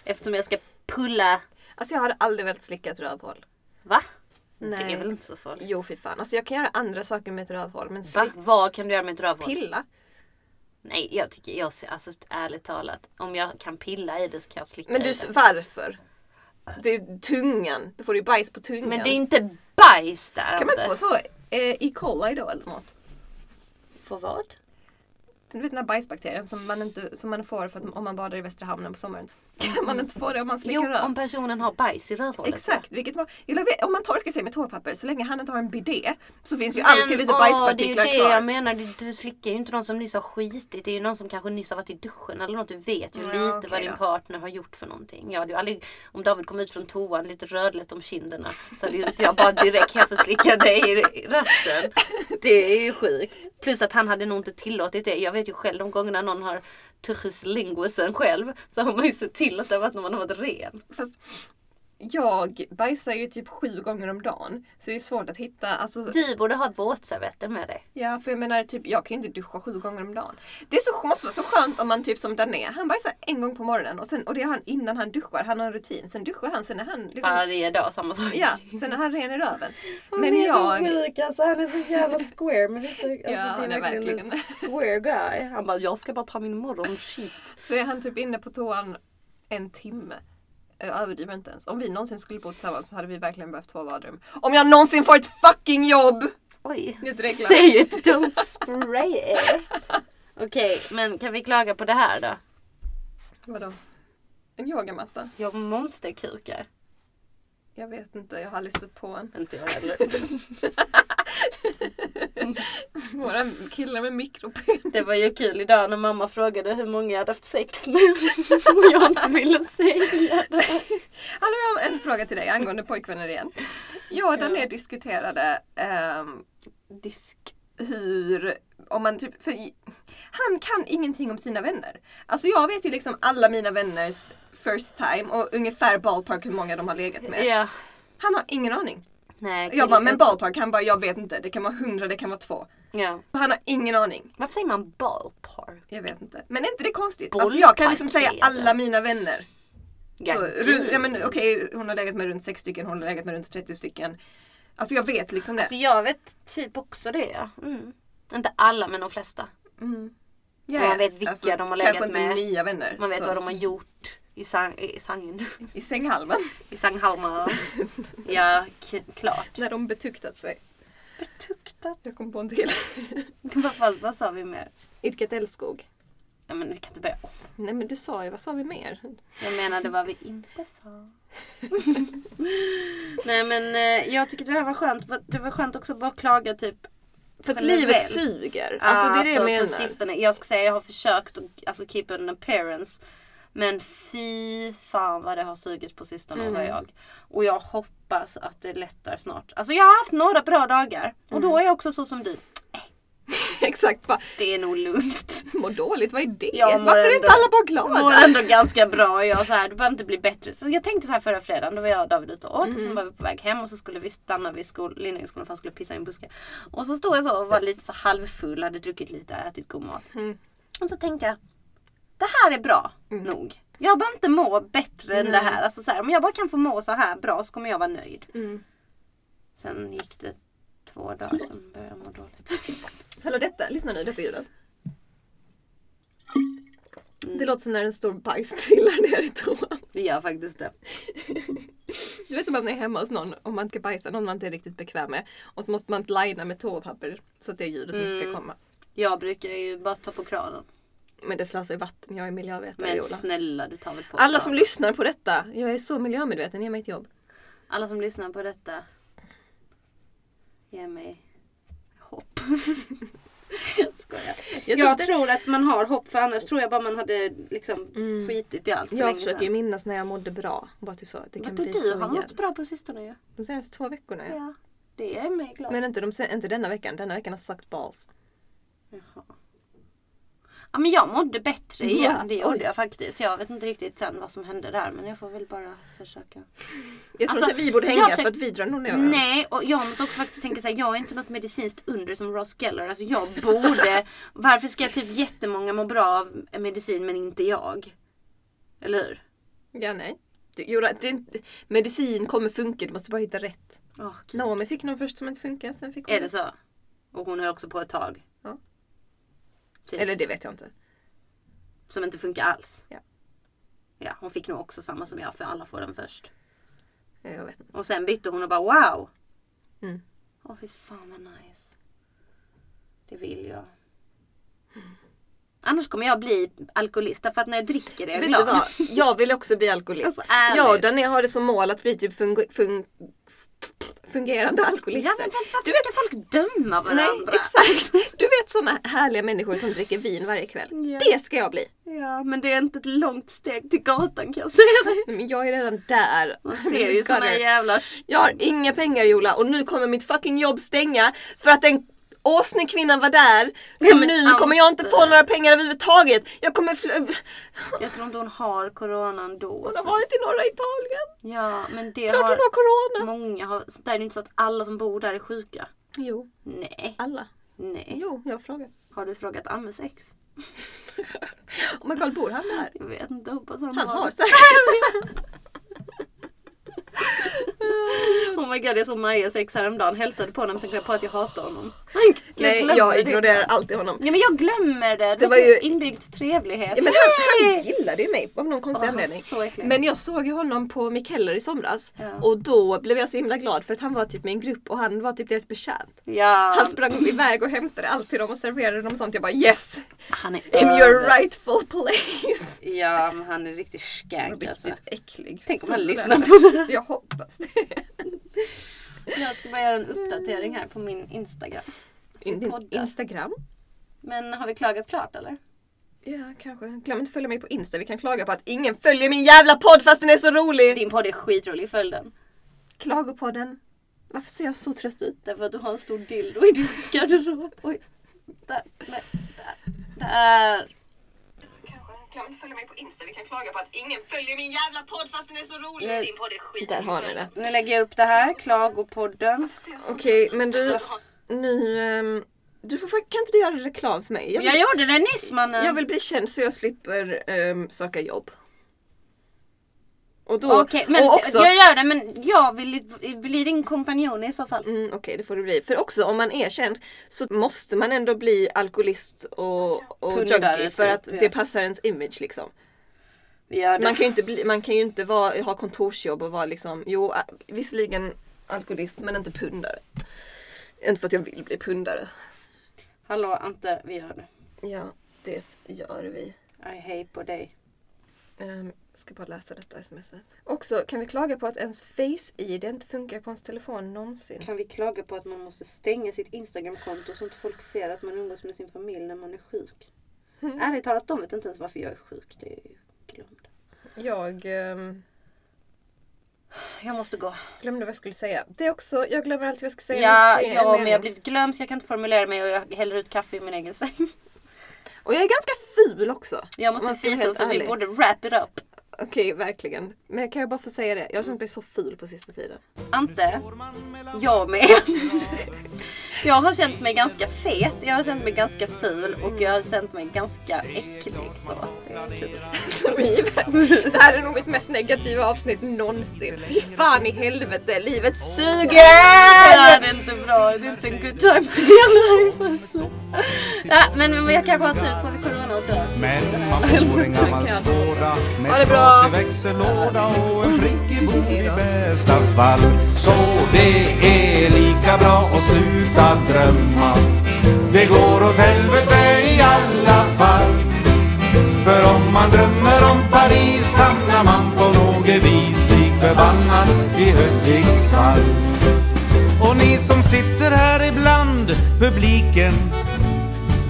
[SPEAKER 2] Eftersom jag ska pulla...
[SPEAKER 1] Alltså jag hade aldrig velat slicka ett rövhål.
[SPEAKER 2] Va? Det
[SPEAKER 1] Nej.
[SPEAKER 2] är väl inte så farligt?
[SPEAKER 1] Jo fy fan. Alltså jag kan göra andra saker med ett rövhål men
[SPEAKER 2] Va?
[SPEAKER 1] slick,
[SPEAKER 2] Vad kan du göra med ett rövhål?
[SPEAKER 1] pilla?
[SPEAKER 2] Nej, jag tycker jag ser, alltså ärligt talat. Om jag kan pilla i det så kan jag slicka
[SPEAKER 1] Men
[SPEAKER 2] i
[SPEAKER 1] du,
[SPEAKER 2] det.
[SPEAKER 1] varför? Det är tungan. Då får du ju bajs på tungan.
[SPEAKER 2] Men det är inte bajs där
[SPEAKER 1] Kan man inte
[SPEAKER 2] inte.
[SPEAKER 1] få så eh, E. coli då eller något?
[SPEAKER 2] Få vad?
[SPEAKER 1] Du vet den här bajsbakterien som man, inte, som man får för att, om man badar i Västra hamnen på sommaren. [laughs] Kan man inte få det om man slickar
[SPEAKER 2] Jo,
[SPEAKER 1] röv?
[SPEAKER 2] om personen har bajs i rövhålet.
[SPEAKER 1] Exakt, vilket var, eller vet- om man torkar sig med toapapper så länge han inte har en bidé så finns ju
[SPEAKER 2] Men,
[SPEAKER 1] alltid lite
[SPEAKER 2] åh,
[SPEAKER 1] bajspartiklar
[SPEAKER 2] Det är ju det
[SPEAKER 1] kvar.
[SPEAKER 2] jag menar. Du, du slickar ju inte någon som nyss har skitit. Det är ju någon som kanske nyss har varit i duschen eller något. Du vet ju
[SPEAKER 1] Ja,
[SPEAKER 2] lite
[SPEAKER 1] okej
[SPEAKER 2] vad din
[SPEAKER 1] då.
[SPEAKER 2] partner har gjort för någonting. Jag hade ju aldrig, om David kom ut från toan lite rödlätt om kinderna så hade ju inte jag bara direkt här för slicka dig i- i rassen. Det är ju sjukt. Plus att han hade nog inte tillåtit det. Jag vet ju själv de gångerna någon har tuchus lingusen själv så har man ju sett till att det har varit när man har varit ren.
[SPEAKER 1] Fast jag bajsar ju typ sju gånger om dagen så det är svårt att hitta. Alltså,
[SPEAKER 2] Du borde ha våtservetter med dig.
[SPEAKER 1] ja, för jag menar typ, jag kan ju inte duscha sju gånger om dagen. Det är så, måste vara så skönt om man typ som Dané, han bajsar en gång på morgonen och, sen, och det gör han innan han duschar. Han har en rutin. Sen duschar han, sen är han liksom,
[SPEAKER 2] Varje dag samma sak.
[SPEAKER 1] ja, sen är han ren i röven. Men jag,
[SPEAKER 2] sjuk alltså, han är så jävla square.
[SPEAKER 1] [laughs]
[SPEAKER 2] Men det är, så, alltså,
[SPEAKER 1] han är verkligen.
[SPEAKER 2] lite square guy. Han bara, jag ska bara ta min morgonshit.
[SPEAKER 1] så är han typ inne på toan en timme. Jag överdriver inte ens. Om vi någonsin skulle bo tillsammans så hade vi verkligen behövt två badrum. Om jag någonsin får ett fucking jobb!
[SPEAKER 2] Oj,
[SPEAKER 1] Nu dreglar han.
[SPEAKER 2] say it, don't spray it. Okej, men kan vi klaga på det här då?
[SPEAKER 1] Vadå? En yogamatta?
[SPEAKER 2] Jag har monsterkukar.
[SPEAKER 1] Jag vet inte, jag har aldrig stött på en.
[SPEAKER 2] Inte jag heller.
[SPEAKER 1] Våra killar med mikropen.
[SPEAKER 2] Det var ju kul idag när mamma frågade hur många jag hade haft sex med. Och jag inte ville säga det.
[SPEAKER 1] Hallå, jag har en fråga till dig angående pojkvänner igen. Jag och Daniel diskuterade ehm, disk, hur, om man typ, för i- han kan ingenting om sina vänner. Alltså jag vet ju liksom alla mina vänners first time och ungefär ballpark hur många de har legat med.
[SPEAKER 2] Ja.
[SPEAKER 1] Han har ingen aning.
[SPEAKER 2] Nej,
[SPEAKER 1] Jag bara,
[SPEAKER 2] killar-
[SPEAKER 1] men ballpark? Han bara, jag vet inte. Det kan vara hundra, det kan vara två.
[SPEAKER 2] Ja.
[SPEAKER 1] Han har ingen aning.
[SPEAKER 2] Varför säger man ballpark?
[SPEAKER 1] Jag vet inte. Men är inte det konstigt? Alltså jag kan liksom säga alla mina vänner.
[SPEAKER 2] Ja,
[SPEAKER 1] Så,
[SPEAKER 2] gud.
[SPEAKER 1] ru- ja, men, okej, hon har legat med runt sex stycken, hon har legat med runt 30 stycken. Alltså jag vet liksom det.
[SPEAKER 2] Så jag vet typ också det. ja. Mm. Inte alla men de flesta.
[SPEAKER 1] Mm. Ja,
[SPEAKER 2] man
[SPEAKER 1] ja.
[SPEAKER 2] vet vilka de har legat
[SPEAKER 1] kanske
[SPEAKER 2] med.
[SPEAKER 1] inte nya vänner.
[SPEAKER 2] Man vet
[SPEAKER 1] så.
[SPEAKER 2] vad de har gjort i, sang, i sangen.
[SPEAKER 1] I sänghalmen.
[SPEAKER 2] I sanghalmar. ja, k- klart.
[SPEAKER 1] [laughs] När de betuktat sig.
[SPEAKER 2] Betuktat.
[SPEAKER 1] Jag kom på en
[SPEAKER 2] [laughs]
[SPEAKER 1] till.
[SPEAKER 2] Vad, fan- vad sa vi mer?
[SPEAKER 1] Idkat älskog.
[SPEAKER 2] Ja, men vi kan inte börja om.
[SPEAKER 1] Nej men du sa ju, vad sa vi mer?
[SPEAKER 2] Jag menade vad vi inte sa. Nej men eh, jag tycker det här var skönt. Det var skönt också att bara klaga typ
[SPEAKER 1] För att
[SPEAKER 2] Generellt.
[SPEAKER 1] livet suger. Alltså det är det jag
[SPEAKER 2] Alltså,
[SPEAKER 1] menar.
[SPEAKER 2] På sistone, jag ska säga jag har försökt att alltså, keep an appearance. Men fy fan vad det har sugit på sistone mm. jag. Och jag hoppas att det lättar snart. Alltså jag har haft några bra dagar. Och
[SPEAKER 1] Mm.
[SPEAKER 2] då är jag också så som du.
[SPEAKER 1] [laughs] Exakt, bara,
[SPEAKER 2] Det är nog lugnt.
[SPEAKER 1] mår dåligt, vad är det?
[SPEAKER 2] Jag mår
[SPEAKER 1] Varför är
[SPEAKER 2] ändå-
[SPEAKER 1] inte alla bara
[SPEAKER 2] Mår
[SPEAKER 1] glada?
[SPEAKER 2] ändå ganska bra och jag så här, det behöver inte bli bättre. Så jag tänkte så här förra fredagen, då var jag och David ute och åt. Sen var vi på väg hem och så skulle vi stanna vid skol, Lindängsskolan för han skulle pissa i en buske. Och så stod jag så och var lite så halvfull, hade druckit lite, ätit god mat.
[SPEAKER 1] Mm.
[SPEAKER 2] Och så tänkte jag, det här är bra nog. Jag behöver inte må bättre än det här. Alltså så här. Om jag bara kan få må så här bra så kommer jag vara nöjd.
[SPEAKER 1] Mm.
[SPEAKER 2] Sen gick det två dagar, sen började jag må dåligt. [laughs]
[SPEAKER 1] Hallå detta, lyssna nu, detta ljudet.
[SPEAKER 2] Mm.
[SPEAKER 1] Det låter som när en stor bajs trillar ner i toan.
[SPEAKER 2] Vi gör faktiskt det.
[SPEAKER 1] Du vet när man är hemma hos någon och man ska bajsa, någon man inte är riktigt bekväm med. Och så måste man lina med toapapper så att det ljudet inte
[SPEAKER 2] Mm.
[SPEAKER 1] ska komma.
[SPEAKER 2] Jag brukar ju bara ta på kranen.
[SPEAKER 1] Men det slösar ju vatten, jag är miljövetare
[SPEAKER 2] Men
[SPEAKER 1] Ola.
[SPEAKER 2] snälla du tar väl på
[SPEAKER 1] Alla
[SPEAKER 2] kranen.
[SPEAKER 1] som lyssnar på detta, jag är så miljömedveten, ge mig ett jobb.
[SPEAKER 2] Alla som lyssnar på detta, ge mig hopp. [laughs] jag skojar.
[SPEAKER 1] Jag
[SPEAKER 2] Jag,
[SPEAKER 1] tror inte-
[SPEAKER 2] tror att man har hopp för annars tror jag bara man hade liksom skitit i allt för
[SPEAKER 1] Mm. Jag
[SPEAKER 2] länge
[SPEAKER 1] försöker ju
[SPEAKER 2] sedan.
[SPEAKER 1] minnas när jag mådde bra. Bara typ så, att det kan
[SPEAKER 2] Vadå
[SPEAKER 1] bli så
[SPEAKER 2] du har
[SPEAKER 1] igen.
[SPEAKER 2] mått bra på sistone ju.
[SPEAKER 1] De senaste två veckorna ja.
[SPEAKER 2] Ja, det är mig glad.
[SPEAKER 1] Men inte, de, sen- inte denna veckan, denna veckan har sagt balls.
[SPEAKER 2] Jaha. Ja men jag mådde bättre
[SPEAKER 1] Ja,
[SPEAKER 2] igen, det
[SPEAKER 1] oj.
[SPEAKER 2] gjorde jag faktiskt. Jag vet inte riktigt sen vad som hände där men jag får väl bara försöka.
[SPEAKER 1] Jag tror
[SPEAKER 2] Alltså,
[SPEAKER 1] inte vi borde
[SPEAKER 2] jag
[SPEAKER 1] hänga
[SPEAKER 2] försöker-
[SPEAKER 1] för att vi drar nog ner varandra.
[SPEAKER 2] Nej, och jag måste också faktiskt tänka såhär, jag är inte något medicinskt under som Ross Geller. Alltså jag borde... Varför ska typ jättemånga må bra av medicin men inte jag? Eller hur?
[SPEAKER 1] Ja, nej. Du, Jura, det, är inte- medicin kommer funka, du måste bara hitta rätt.
[SPEAKER 2] Åh, gud.
[SPEAKER 1] Naomi fick någon först som inte funkar, sen fick hon...
[SPEAKER 2] Är det så? Och hon höll också på ett tag.
[SPEAKER 1] Ja.
[SPEAKER 2] Typ,
[SPEAKER 1] Eller det vet jag inte.
[SPEAKER 2] Som inte funkar alls.
[SPEAKER 1] Ja.
[SPEAKER 2] Ja, hon fick nog också samma som jag för alla får den först.
[SPEAKER 1] Ja, Jag vet inte.
[SPEAKER 2] Och sen bytte hon och bara wow!
[SPEAKER 1] Mm.
[SPEAKER 2] Åh fy fan vad nice. Det vill jag.
[SPEAKER 1] Mm.
[SPEAKER 2] Annars kommer jag bli alkoholist därför att när jag dricker är jag
[SPEAKER 1] Vet
[SPEAKER 2] glad.
[SPEAKER 1] du vad? Jag vill också bli alkoholist.
[SPEAKER 2] Alltså, ärligt.
[SPEAKER 1] jag och Daniel har det som mål att bli typ fungu- fun- fungerande alkoholister.
[SPEAKER 2] Ja, men varför varför ska folk döma varandra?
[SPEAKER 1] Nej, exakt. Du vet såna härliga människor som dricker vin varje kväll.
[SPEAKER 2] Ja.
[SPEAKER 1] Det ska jag bli.
[SPEAKER 2] Ja, men det är inte ett långt steg till gatan kan jag säga. [laughs]
[SPEAKER 1] Nej, Men jag är redan där.
[SPEAKER 2] Man ser
[SPEAKER 1] [laughs]
[SPEAKER 2] ju såna jävla... sh-
[SPEAKER 1] Jag har inga pengar Jola och nu kommer mitt fucking jobb stänga för att den åsnekvinnan var där. Så
[SPEAKER 2] men
[SPEAKER 1] nu kommer jag inte få
[SPEAKER 2] Ante.
[SPEAKER 1] några pengar överhuvudtaget. Jag kommer [laughs] fly-
[SPEAKER 2] Jag tror inte hon har coronan då.
[SPEAKER 1] Hon har
[SPEAKER 2] Så.
[SPEAKER 1] varit i norra Italien.
[SPEAKER 2] Ja, men det
[SPEAKER 1] Klart hon
[SPEAKER 2] Alltså. har...
[SPEAKER 1] har corona.
[SPEAKER 2] Många har... Så där är det inte så att alla som bor där är sjuka.
[SPEAKER 1] Jo,
[SPEAKER 2] Nej,
[SPEAKER 1] alla.
[SPEAKER 2] nej.
[SPEAKER 1] Jo, jag frågar.
[SPEAKER 2] Har du frågat Ammes ex?
[SPEAKER 1] [laughs] Oh my god, bor han där?
[SPEAKER 2] Jag vet inte, hoppas han,
[SPEAKER 1] Han har [laughs]
[SPEAKER 2] har.
[SPEAKER 1] säkert.
[SPEAKER 2] Oh my god, jag såg Majas ex häromdagen. Hälsade på honom och tänkte på att jag hatar honom.
[SPEAKER 1] Nej,
[SPEAKER 2] glömmer
[SPEAKER 1] jag
[SPEAKER 2] det.
[SPEAKER 1] ignorerar alltid honom.
[SPEAKER 2] Ja, men jag glömmer det. Det,
[SPEAKER 1] Det
[SPEAKER 2] var
[SPEAKER 1] var
[SPEAKER 2] ju
[SPEAKER 1] ju-
[SPEAKER 2] inbyggd trevlighet.
[SPEAKER 1] Ja, men han, han gillade ju mig av någon
[SPEAKER 2] Åh,
[SPEAKER 1] konstig
[SPEAKER 2] han var
[SPEAKER 1] anledning.
[SPEAKER 2] så äcklig.
[SPEAKER 1] Men jag såg ju honom på Mikeller i somras
[SPEAKER 2] Ja.
[SPEAKER 1] och då blev jag så himla glad för att han var typ min grupp och han var typ deras betjänt.
[SPEAKER 2] Ja.
[SPEAKER 1] Han sprang iväg och hämtade allt till dem och serverade dem och sånt. Jag bara yes!
[SPEAKER 2] Han är
[SPEAKER 1] In
[SPEAKER 2] över-
[SPEAKER 1] your rightful place!
[SPEAKER 2] Ja, men han är riktigt skank alltså.
[SPEAKER 1] Riktigt äcklig.
[SPEAKER 2] Tänk om han
[SPEAKER 1] Ful
[SPEAKER 2] lyssnar
[SPEAKER 1] är
[SPEAKER 2] på det.
[SPEAKER 1] Jag hoppas det.
[SPEAKER 2] Jag ska bara göra en uppdatering här på min Instagram.
[SPEAKER 1] In, din
[SPEAKER 2] poddar.
[SPEAKER 1] Instagram.
[SPEAKER 2] Men har vi klagat klart eller?
[SPEAKER 1] Ja, kanske. Glöm inte att följa mig på Insta. Vi kan klaga på att ingen följer min jävla podd fast den är så rolig!
[SPEAKER 2] Din podd är skitrolig, följ den.
[SPEAKER 1] Klagopodden. Varför ser jag så trött ut?
[SPEAKER 2] Därför att du har en stor dildo i din [laughs] garderob. Oj. Där, nej, där, där.
[SPEAKER 1] Kanske. Glöm inte att följa mig på Insta. Vi kan klaga på att ingen följer min jävla podd fast den är så rolig!
[SPEAKER 2] Nej.
[SPEAKER 1] Din podd är skit. Där har ni det.
[SPEAKER 2] Nu lägger jag upp det här, klagopodden.
[SPEAKER 1] Okej, men du. Nu... ehm, du får, fakt- kan inte du göra reklam för mig? Jag vill,
[SPEAKER 2] Jag gjorde det nyss mannen!
[SPEAKER 1] jag vill bli känd så jag slipper ehm, söka jobb. Och då...
[SPEAKER 2] Okej, men
[SPEAKER 1] och också,
[SPEAKER 2] jag gör det men jag vill bli din kompanjon i så fall.
[SPEAKER 1] Mm, Okej, det får det bli. För också om man är känd så måste man ändå bli alkoholist och, och
[SPEAKER 2] Pundare,
[SPEAKER 1] junkie för
[SPEAKER 2] typ,
[SPEAKER 1] att
[SPEAKER 2] ja.
[SPEAKER 1] det passar ens image liksom.
[SPEAKER 2] Vi gör det.
[SPEAKER 1] Man kan ju inte, bli, man kan ju inte vara, ha kontorsjobb och vara liksom, jo ä- visserligen alkoholist men inte pundare. Inte för att jag vill bli pundare.
[SPEAKER 2] Hallå Ante, vi gör det.
[SPEAKER 1] Ja, det gör vi.
[SPEAKER 2] I hej på dig.
[SPEAKER 1] Ehm, ska bara läsa detta smset. Också, kan vi klaga på att ens face-id inte funkar på ens telefon någonsin?
[SPEAKER 2] Kan vi klaga på att man måste stänga sitt Instagramkonto så inte folk ser att man umgås med sin familj när man är sjuk?
[SPEAKER 1] Mm.
[SPEAKER 2] Ärligt talat, de vet inte ens varför jag är sjuk. Det är ju glömd.
[SPEAKER 1] Jag... ehm,
[SPEAKER 2] Jag måste gå.
[SPEAKER 1] Glömde vad jag skulle säga. Det är också, jag glömmer alltid vad jag ska säga.
[SPEAKER 2] Ja,
[SPEAKER 1] Det är en
[SPEAKER 2] ja men jag har
[SPEAKER 1] mening.
[SPEAKER 2] blivit glömd så jag kan inte formulera mig och jag häller ut kaffe i min egen säng. [laughs]
[SPEAKER 1] Och jag är ganska ful också.
[SPEAKER 2] Jag
[SPEAKER 1] Om
[SPEAKER 2] måste
[SPEAKER 1] man ska vara
[SPEAKER 2] fisa
[SPEAKER 1] helt
[SPEAKER 2] så vi
[SPEAKER 1] ärlig.
[SPEAKER 2] borde wrap it up.
[SPEAKER 1] Okej, verkligen. Men kan jag bara få säga det? Jag har känt mig så ful på sista tiden. [laughs]
[SPEAKER 2] Ante, jag med. [laughs] Jag har känt mig ganska fet, jag har känt mig ganska ful och jag har känt mig ganska äcklig. Så det är kul.
[SPEAKER 1] Som givet. Det här är nog mitt mest negativa avsnitt någonsin. Fy fan i helvete, livet
[SPEAKER 2] Nej,
[SPEAKER 1] suger!
[SPEAKER 2] det är inte bra. Det är inte en good time to be alive. alltså. Ja, men vi kanske har tur så får vi corona och dö.
[SPEAKER 3] Men man får en gammal skåda
[SPEAKER 1] Ha det
[SPEAKER 3] med
[SPEAKER 1] bra.
[SPEAKER 3] trasig växellåda och en friggebo i bästa fall. Så det är lika bra att sluta drömma. Det går åt helvete i alla fall. För om man drömmer om Paris hamnar man på något vis lik förbannat i Hudiksvall. Och ni som sitter här ibland, publiken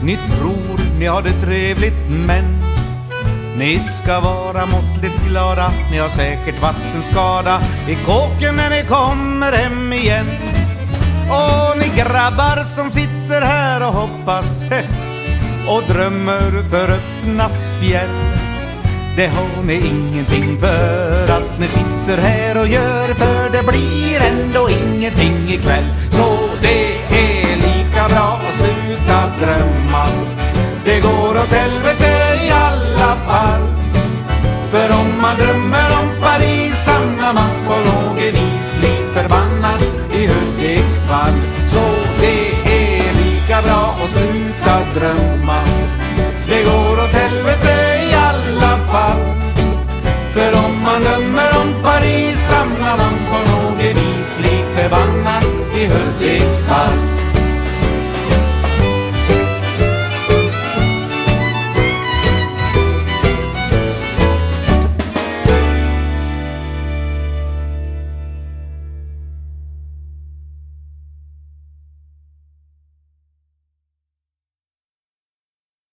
[SPEAKER 3] ni tror ni har det trevligt men ni ska vara måttligt glada Ni har säkert vattenskada i kåken när ni kommer hem igen Och ni grabbar som sitter här och hoppas heh, och drömmer för öppna spjäll Det har ni ingenting för att ni sitter här och gör för det blir ändå ingenting ikväll Så det är lika bra att sluta drömma Det går åt helvete i alla fall för om man drömmer om Paris hamnar man på något vis lik förbannad i Hudiksvall. Så det är lika bra att sluta drömma.